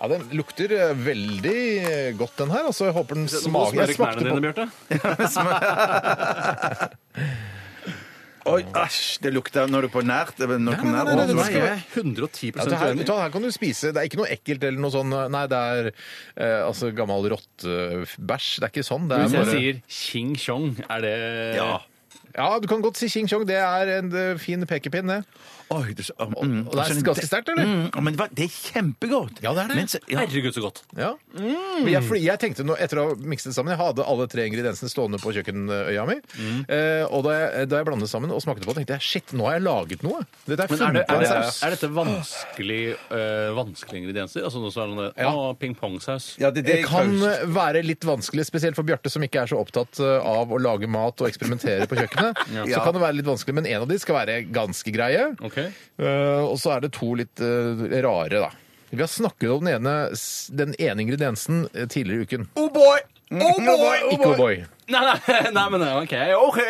C: Ja, Den lukter eh, veldig eh, godt, den her. Altså, jeg håper den
E: Nå må du
C: smaker
E: smøre knærne dine, Bjarte.
B: Oi, æsj! Det lukter Når du er på nært det er når du
C: Nei,
B: kommer
C: nei,
B: nært.
C: nei, nei,
B: Å,
C: det
B: nå
C: skal
B: er
C: være
B: jeg
E: 110
C: Ja, det her, vet du hva, her kan du spise. Det er ikke noe ekkelt eller noe sånn Nei, det er eh, altså gammel rottebæsj. Det er ikke sånn. Det er
E: Hvis jeg sier Ching Chong, er det
C: ja. ja, du kan godt si Ching Chong. Det er en eh, fin pekepinn, det.
B: Oi, det, er, mm,
C: og det er ganske sterkt, eller?
B: Mm, men hva- det er kjempegodt.
C: Ja, det er det.
B: Men så- ja.
E: Herregud, så godt.
C: Ja. Men Jeg, fordi jeg tenkte nå, etter å ha mikset det sammen, jeg hadde alle tre ingrediensene stående på kjøkkenøya mi. Eh, og da jeg, da jeg blandet sammen og smakte på det, tenkte jeg shit, nå har jeg laget noe. Dette er
E: Men er, det,
C: funnet på
E: er,
C: en
E: det,
C: saus.
E: er dette vanskelig, øh, vanskelige ingredienser? Altså noe sånn ja. pingpongsaus?
C: det kan eh, være litt vanskelig, spesielt for Bjarte, som ikke er så opptatt eh, av å lage mat og eksperimentere på kjøkkenet.
E: Ja.
C: Så kan det være litt vanskelig, men en av de skal være ganske greie.
E: Ok.
C: Eh, og så er det to litt eh, rare, da. Vi har snakket om den ene, s- den ene ingrediensen eh, tidligere i uken.
E: Oh boy! Oh
C: Mm, oh boy, oh Ikke oh boy.
E: Nei, nei, nei, men OK. OK!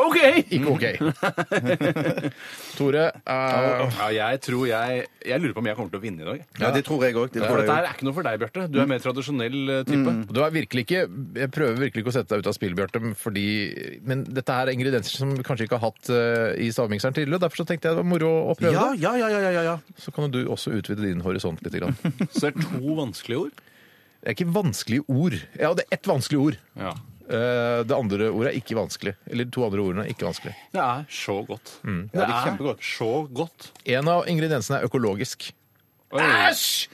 E: OK!
C: Ikke OK. Tore eh,
E: Ja, jeg tror jeg Jeg lurer på om jeg kommer til å vinne i dag.
B: Ja, det tror jeg òg.
E: For dette her er ikke noe for deg, Bjarte.
C: Mm.
E: Du er mer tradisjonell eh, type.
C: Du er virkelig ikke, jeg prøver virkelig ikke å sette deg ut av spill, Bjarte, fordi, men dette her er ingredienser som vi kanskje ikke har hatt eh, i stavmikseren tidligere. og Derfor så tenkte jeg det var moro å prøve
B: Ja,
C: det.
B: ja, ja, ja, ja, ja.
C: Så kan jo du også utvide din horisont litt. Grann. Det
E: Så det er to vanskelige ord.
C: er ikke vanskelige ord. Ja, det er ett vanskelig ord.
E: Ja.
C: Eh, Det andre ordet er ikke vanskelig. Eller de to andre ordene er ikke vanskelig.
E: Det er så godt. det, er kjempegodt. Så godt.
C: En av ingrediensene er økologisk.
E: Æsj!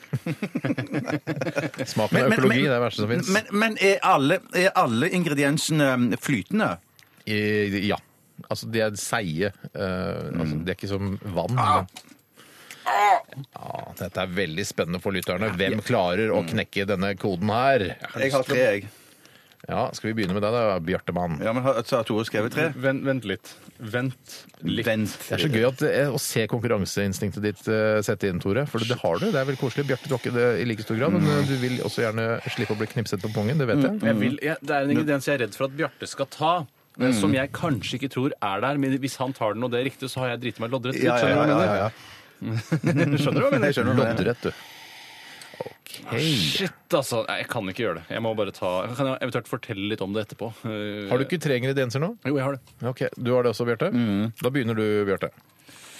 C: Smak med
B: Men- men-
C: økologi, det er det verste som fins.
B: Men, men er, alle, er alle ingrediensene um, flytende?
C: Ja. Altså, de er seige. eh, altså, det er ikke som vann. Men... Ja, dette er veldig spennende for lytterne. Hvem klarer å knekke denne koden her?
B: Jeg har tre, jeg.
C: Ja, Skal vi begynne med deg, da, Bjartemann?
B: Ja, men har, så har Tore skrevet tre?
E: Vent, vent litt. Vent litt.
C: Det er så gøy at, eh, å se konkurranseinstinktet ditt eh, sette inn, Tore. For det har du. Det er vel koselig. Bjarte, du har ikke det i like stor grad, men eh, du vil også gjerne slippe å bli knipset på pungen. Det vet jeg.
E: Jeg vil, jeg, det er en ingrediens jeg er redd for at Bjarte skal ta. eh, Som jeg kanskje ikke tror er der, men hvis han tar den og det er riktig, så har jeg driti meg loddrett ut.
B: Ja, ja,
E: skjønner du hva jeg
B: ja,
E: mener?
B: ja, ja.
E: Skjønner du hva jeg mener?
B: Jeg skjønner hva jeg mener.
C: Loddrett, du. OK.
E: Shit, altså. Nei, Jeg kan ikke gjøre det. Jeg må bare ta Kan jeg eventuelt fortelle litt om det etterpå? Eh,
C: Har du ikke tre ingredienser nå?
E: Jo, jeg har det.
C: Ok, Du har det også, Bjarte? Da begynner du, Bjarte.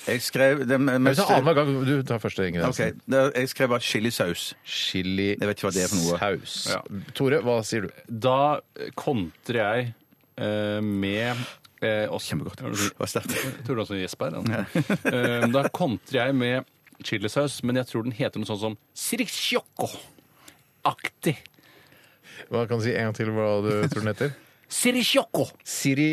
B: Jeg skrev det
C: Men
B: mest...
C: hvis det er annenhver gang du tar første ingrediens.
B: Ok, det- jeg skrev bare chilisaus.
C: Chili
B: Jeg vet ikke hva det er for noe.
C: saus.
E: Ja.
C: Tore, hva sier du?
E: Da eh, kontrer jeg eh, med eh, også, Kjempegodt.
B: Hva er sterkt?
E: Tror du også gjesper? Altså. Eh, da kontrer jeg med chilisaus, men jeg tror den heter noe sånn som sirikjokko-aktig.
C: Hva kan du si en gang til hva du tror den heter?
E: Sirikjokko!
C: Siri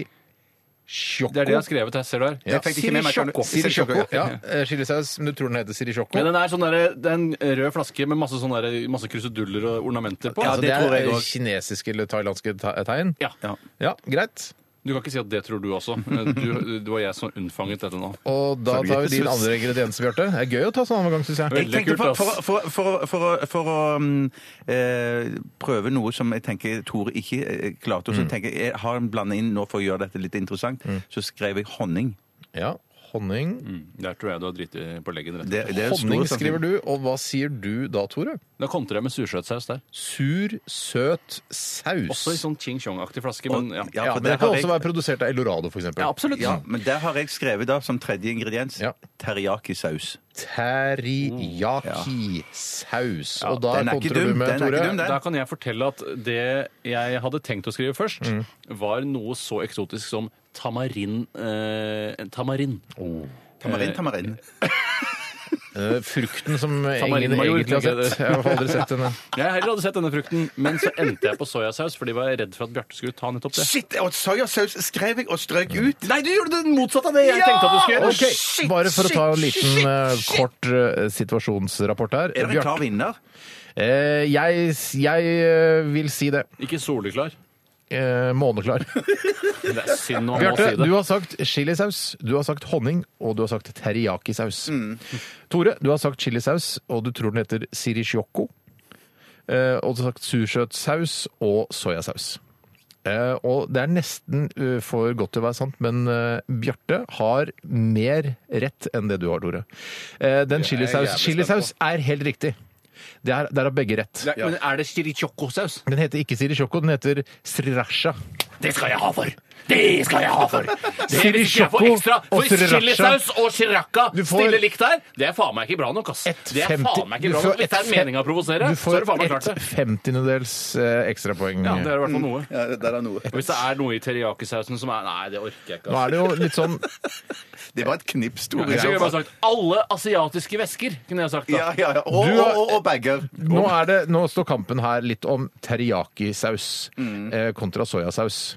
C: Sjokko.
E: Det er det jeg har skrevet her. Ser du her?
C: Ja.
B: fikk det ikke med meg, kan du-
C: Siri
B: Siri
C: Sjokko.
B: Sjokko,
C: Ja. eh, Chilisaus, men du tror den heter Siri Sjokko?
E: Ja, den er sånn der, det er en rød flaske med masse, sånne der, masse kruseduller og ornamenter på.
C: Altså,
B: det
C: det,
B: tror jeg
C: er eh,
B: også.
C: kinesiske eller thailandske te- tegn?
E: Ja.
C: Ja, greit.
E: Du kan ikke si at det tror du også. Eh, Du, det var jeg som unnfanget dette nå.
C: Og da
B: Sorry,
C: tar vi din
B: Jesus.
C: andre ingrediens, Bjarte. Det er gøy å ta sånn annenhver gang, syns jeg.
B: Jeg tenkte for, for, for, for, for, å- for å mm, eh, prøve noe som jeg tenker Tore ikke eh,
C: Mm.
B: klarte, og så tenker jeg, jeg har en blandet inn nå for å gjøre dette litt interessant, så skrev jeg honning.
C: Ja, Honning.
E: Der tror jeg du har driti på leggen. rett og slett.
B: Mm. Det, det er
C: Honning
B: stor-
C: skriver du, og hva sier du da, Tore?
E: Da kontrer jeg med sursøtsaus der.
C: Sur, søt saus.
E: Også i sånn Ching Chong-aktig flaske. Men ja.
B: ja.
C: Ja,
B: for
C: men det
B: der
C: kan
B: har
C: også
B: jeg-
C: være produsert av Elorado, f.eks.
E: ja, absolutt.
B: Ja, men der har jeg skrevet da som tredje ingrediens
C: Ja.
B: teriyaki-saus.
C: Teriyaki-saus.
B: Ja,
C: Og da
B: den er ikke
C: kontrer du
B: dum,
C: med,
B: den er ikke
C: Tore.
B: dum, den.
E: Da kan jeg fortelle at det jeg hadde tenkt å skrive først, var noe så eksotisk som tamarin. Eh, tamarin.
B: Tamarin, tamarin.
C: Eh, Frukten som ingen
E: Tamarind-major,
C: egentlig har
E: tenker
B: altså.
C: sett. Jeg har aldri sett
E: det.
C: den. jeg.
E: Jeg heller hadde sett denne frukten, men så endte jeg på soyasaus fordi jeg var redd for at Bjarte skulle ta nettopp det.
B: Shit! Og soyasaus skrev jeg og strøk ut.
E: Nei, du gjorde det motsatte av det jeg
B: Ja!
E: tenkte at du skulle gjøre.
B: Ok.
C: Ok, Bare for å ta en liten eh, kort eh, situasjonsrapport her. Eh,
E: Er det en klar
B: vinner?
C: jeg jeg eh, vil si det.
E: Ikke soleklar.
C: Eh, måneklar.
E: Det er synd å må
C: Bjarte,
E: si det.
C: du har sagt chilisaus, du har sagt honning, og du har sagt teriyaki-saus.
E: Mm.
C: Tore, du har sagt chilisaus, og du tror den heter sirishoko. Eh, og du har sagt sursøtsaus og soyasaus. Eh, og det er nesten eh, for godt til å være sant, men eh, Bjarte har mer rett enn det du har, Tore. Eh, den
E: Det er jeg
C: chilisaus
E: jævlig spent
C: Chilisaus er helt riktig. Det er, der har begge rett.
E: Nei, Men er det chirichoco-saus?
C: Den heter ikke sirishoko, den heter sriracha.
E: Det skal jeg ha for! Det skal jeg ha for! Det er hvis ikke jeg får
C: Sriracha
E: ekstra.
C: og
E: For
C: sriracha.
E: chilisaus og sriracha
C: Du får-
E: stille likt der, det er faen meg ikke bra nok, ass. Det er faen meg ikke bra nok. Hvis det er meninga å provosere,
C: Du
E: så
C: får
E: er det faen meg klart
C: et
E: det.
C: femtiendedels eh, ekstrapoeng.
E: Ja, det er i hvert fall noe.
B: Ja, det der er noe.
E: Og hvis det er noe i teriyakisausen som er Nei, det orker jeg ikke.
C: Nå
E: ass.
C: er det jo litt sånn
B: Det var et knips,
E: Ja, jeg skulle bare
J: sånn,
E: sagt alle asiatiske væsker, kunne jeg sagt da.
B: Ja, ja, ja.
C: Og- Du har- og-
B: bager.
C: nå, er det, nå står kampen her litt om teriyaki-saus
E: Mm.
C: eh, kontra soyasaus.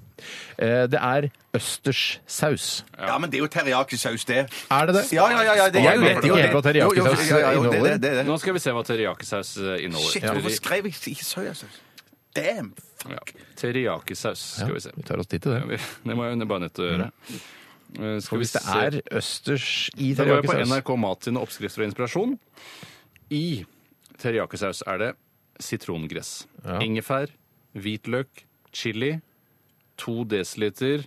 C: Eh, det er østerssaus.
B: Ja, men det er jo teriyaki-saus, det.
C: Er det det?
B: Ja, ja, ja, ja, det er
C: jeg
B: jo
C: vet
B: det,
C: ikke
B: det er
C: helt hva
B: det. Jo, jo,
C: teriyaki-saus
B: ja, ja, jo, det-
C: inneholder.
B: det- det-
E: Nå skal vi se hva teriyaki-saus eh, inneholder.
B: Shit, hvorfor skrev jeg ikke soyasaus? Damn!
E: Ja. Teriyaki-saus, skal vi se.
C: Vi tar oss tid til det.
E: Ja, vi- Det må jeg jo bare nødt til å gjøre. Eh, Skal
C: For
E: vi
C: hvis det
E: se.
C: er østers i
E: Da går jeg på
C: teriyaki-saus
E: NRK Mat sine oppskrifter og inspirasjon. I teriyaki-saus er det sitrongress, ingefær, hvitløk, chili, 2 dl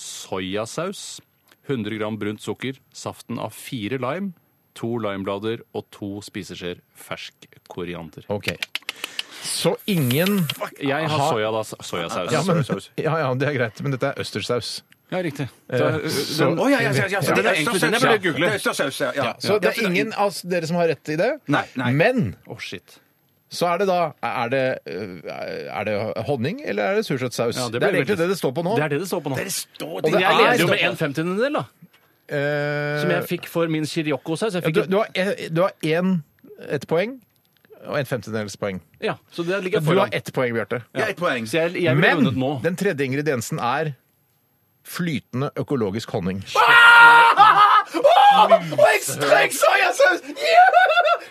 E: soyasaus, 100 gram brunt sukker, saften av fire lime, to limeblader og to spiseskjeer fersk koriander.
C: Ok. Så ingen
E: Jeg har
C: Ha-
E: soya, da, soyasaus.
C: ja, men, ja, ja, det er greit, men dette er østerssaus.
E: Ja, riktig.
C: Eh,
E: Da- den-
C: så-
B: Å, ja, ja, ja, ja, så
E: Ja,
B: det er
E: egentlig
B: østerssaus,
E: den jeg burde
B: ja.
E: google.
B: Det er østerssaus, ja, ja.
C: Så det er ingen av dere som har rett i det.
B: Nei, nei.
C: Men
E: Å, shit.
C: så er det da Er det, øh, er det honning, eller er det sursøtsaus?
E: Ja,
C: det,
E: blir
C: er egentlig
E: veldig-
C: det det står på nå.
E: Det er det det står på nå.
B: Det står
C: Og
B: det
C: det
E: jeg leder
C: er-
E: jo med en femtiendedel, da.
C: Eh,
E: Som jeg fikk for min chiriocco-saus. Jeg
C: ja,
E: fikk
C: øh, du, du har en- du har én ett poeng og en femtedelspoeng.
E: Ja, så det ligger jeg
C: Du har
E: foran.
C: ett poeng, Bjarte.
B: Ja, et poeng.
E: Så jeg, jeg ville vunnet nå.
C: Men den tredje ingrediensen er flytende økologisk honning.
B: Og jeg strøk soyasaus! Ja!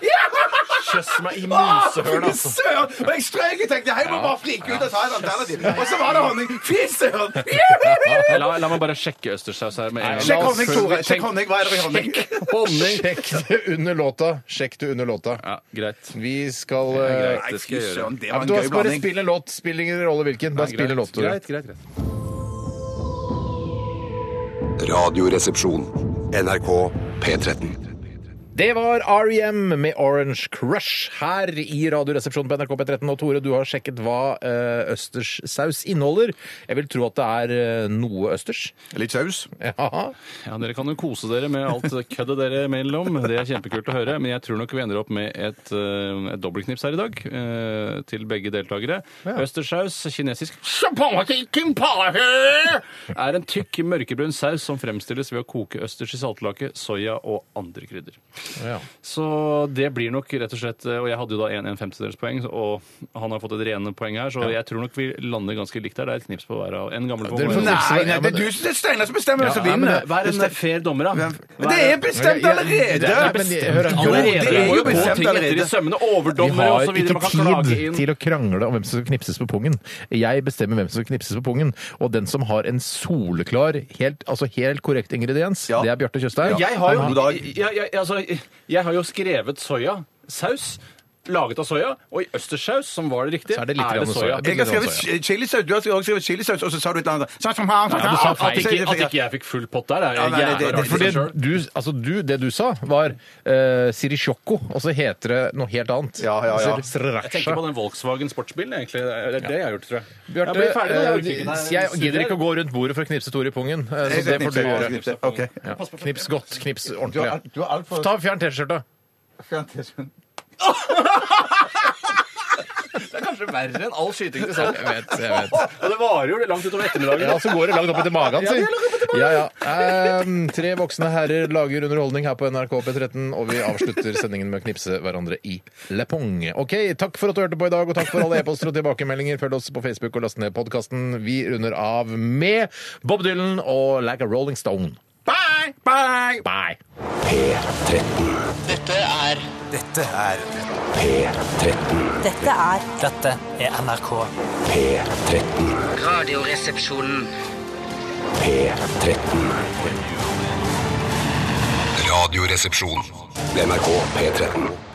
B: Ja!
E: Kjøss meg i musehøl,
B: Fy
E: altså.
B: søren! Og jeg strøk, jeg tenkte jeg må bare flike ut og ta et alternativ. Og så var det honning. Fy søren!
E: La, la meg bare sjekke østerssaus her med en gang.
B: Sjekk
E: La oss-
B: honning, Tore. Sjekk honning. Hva er det i honning?
E: Honning!
C: Sjekk det under låta. Sjekk det under låta.
E: Ja, greit.
C: Vi skal
E: Det er
C: eh,
E: greit, det skal jeg gjøre.
B: det
C: ja, men Du har bare spill en låt. Spiller ingen rolle hvilken. Bare spill en låt. Tore.
E: Greit, greit, greit.
I: Radioresepsjon. NRK P13.
C: Det var R.E.M. med Orange Crush her i Radioresepsjonen på NRK P13. Og Tore, du har sjekket hva eh, østers saus inneholder. Jeg vil tro at det er eh, noe østers.
B: Litt saus.
C: Ja.
E: Ja, Dere kan jo kose dere med alt det køddet dere mellom. Det er kjempekult å høre. Men jeg tror nok vi ender opp med et, eh, et dobbeltknips her i dag eh, til begge deltakere. Østerssaus, kinesisk er en tykk, mørkebrun saus som fremstilles ved å koke østers i saltlake, soya og andre krydder.
C: Ja.
E: Så det blir nok rett og slett eh, Og jeg hadde jo da en, en femtedels poeng, og han har fått et rene poeng her, så jeg tror nok vi lander ganske likt her. Det er et knips på hver av en gammel på
C: Dere
E: hver
C: får
E: av-
C: nei,
B: Nei, nei,
C: Ja,
B: det
C: men-
B: er du som det er Steinar som bestemmer hvem som
E: Ja, men
B: vinner.
E: det- Vær en fair dommer, da.
B: Men det er bestemt allerede!
C: Det er- men jeg hører-
E: Allerede!
B: Det er
E: må
B: jo
E: jo gå
B: bestemt
E: ting etter i
B: allerede.
E: sømmene.
C: Vi
E: Overdommere
C: har
E: osv. Man kan
C: ikke
E: klage
C: tid
E: inn.
C: til å krangle om hvem som skal knipses på pungen. Jeg bestemmer hvem som skal knipses på pungen. Og den som har en soleklar, helt, altså helt korrekt ingrediens,
B: Ja.
C: det er Bjarte Tjøstheim.
E: Jeg har
C: Han
E: jo, jeg, jeg, altså, jeg har jo skrevet soyasaus. Laget av soya. Og i østerssaus, som var det riktige,
C: Så er det litt grann soya.
E: soya.
B: Jeg har skrevet chilisaus, du har også skrevet chilisaus, og så sa du et eller annet Sånn som han, sånn som
E: Ja, du sa
B: han.
E: feil. At ikke, at ikke jeg fikk full pott der, er
B: Ja, nei,
E: jævla
B: nei, det-
E: rart.
B: det-
E: i
C: For det
E: seg selv.
C: du, altså du, det du sa, var uh, sirishoko, og så heter det noe helt annet.
B: Ja, ja, ja.
C: Sir- sriracha.
E: Jeg tenker på den Volkswagen sportsbilen, egentlig. Det er det jeg har gjort, tror jeg.
C: Bjarte,
E: jeg blir ferdig med det.
C: eh, jeg gidder ikke å gå rundt bordet for å knipse Tore i pungen, eh, så det får du gjøre.
B: Ok.
C: Ja. Knips godt. Knips ordentlig.
B: Du har- du har alt for-
C: Ta Fjern T-skjorta.
E: Det er kanskje verre enn all skyting til sammen.
C: Jeg vet, jeg vet.
E: Og det varer jo langt utover ettermiddagen.
C: Ja, så går det langt opp etter magen,
E: Ja,
C: si.
E: det er langt opp etter
C: Ja,
E: magen.
C: ja. Ehm, tre voksne herrer lager underholdning her på NRK P13, og vi avslutter sendingen med å knipse hverandre i lepong. OK, takk for at du hørte på i dag, og takk for alle e-poster og tilbakemeldinger. Følg oss på Facebook og last ned podkasten. Vi runder av med Bob Dylan og Like a Rolling Stone.
A: Bye! Bye!
C: Bye!
N: P13.
L: Dette er
G: Dette er
N: P13.
G: Dette er Dette er NRK.
N: P13.
G: Radioresepsjonen.
N: P13.
I: Radioresepsjon.
N: NRK P13.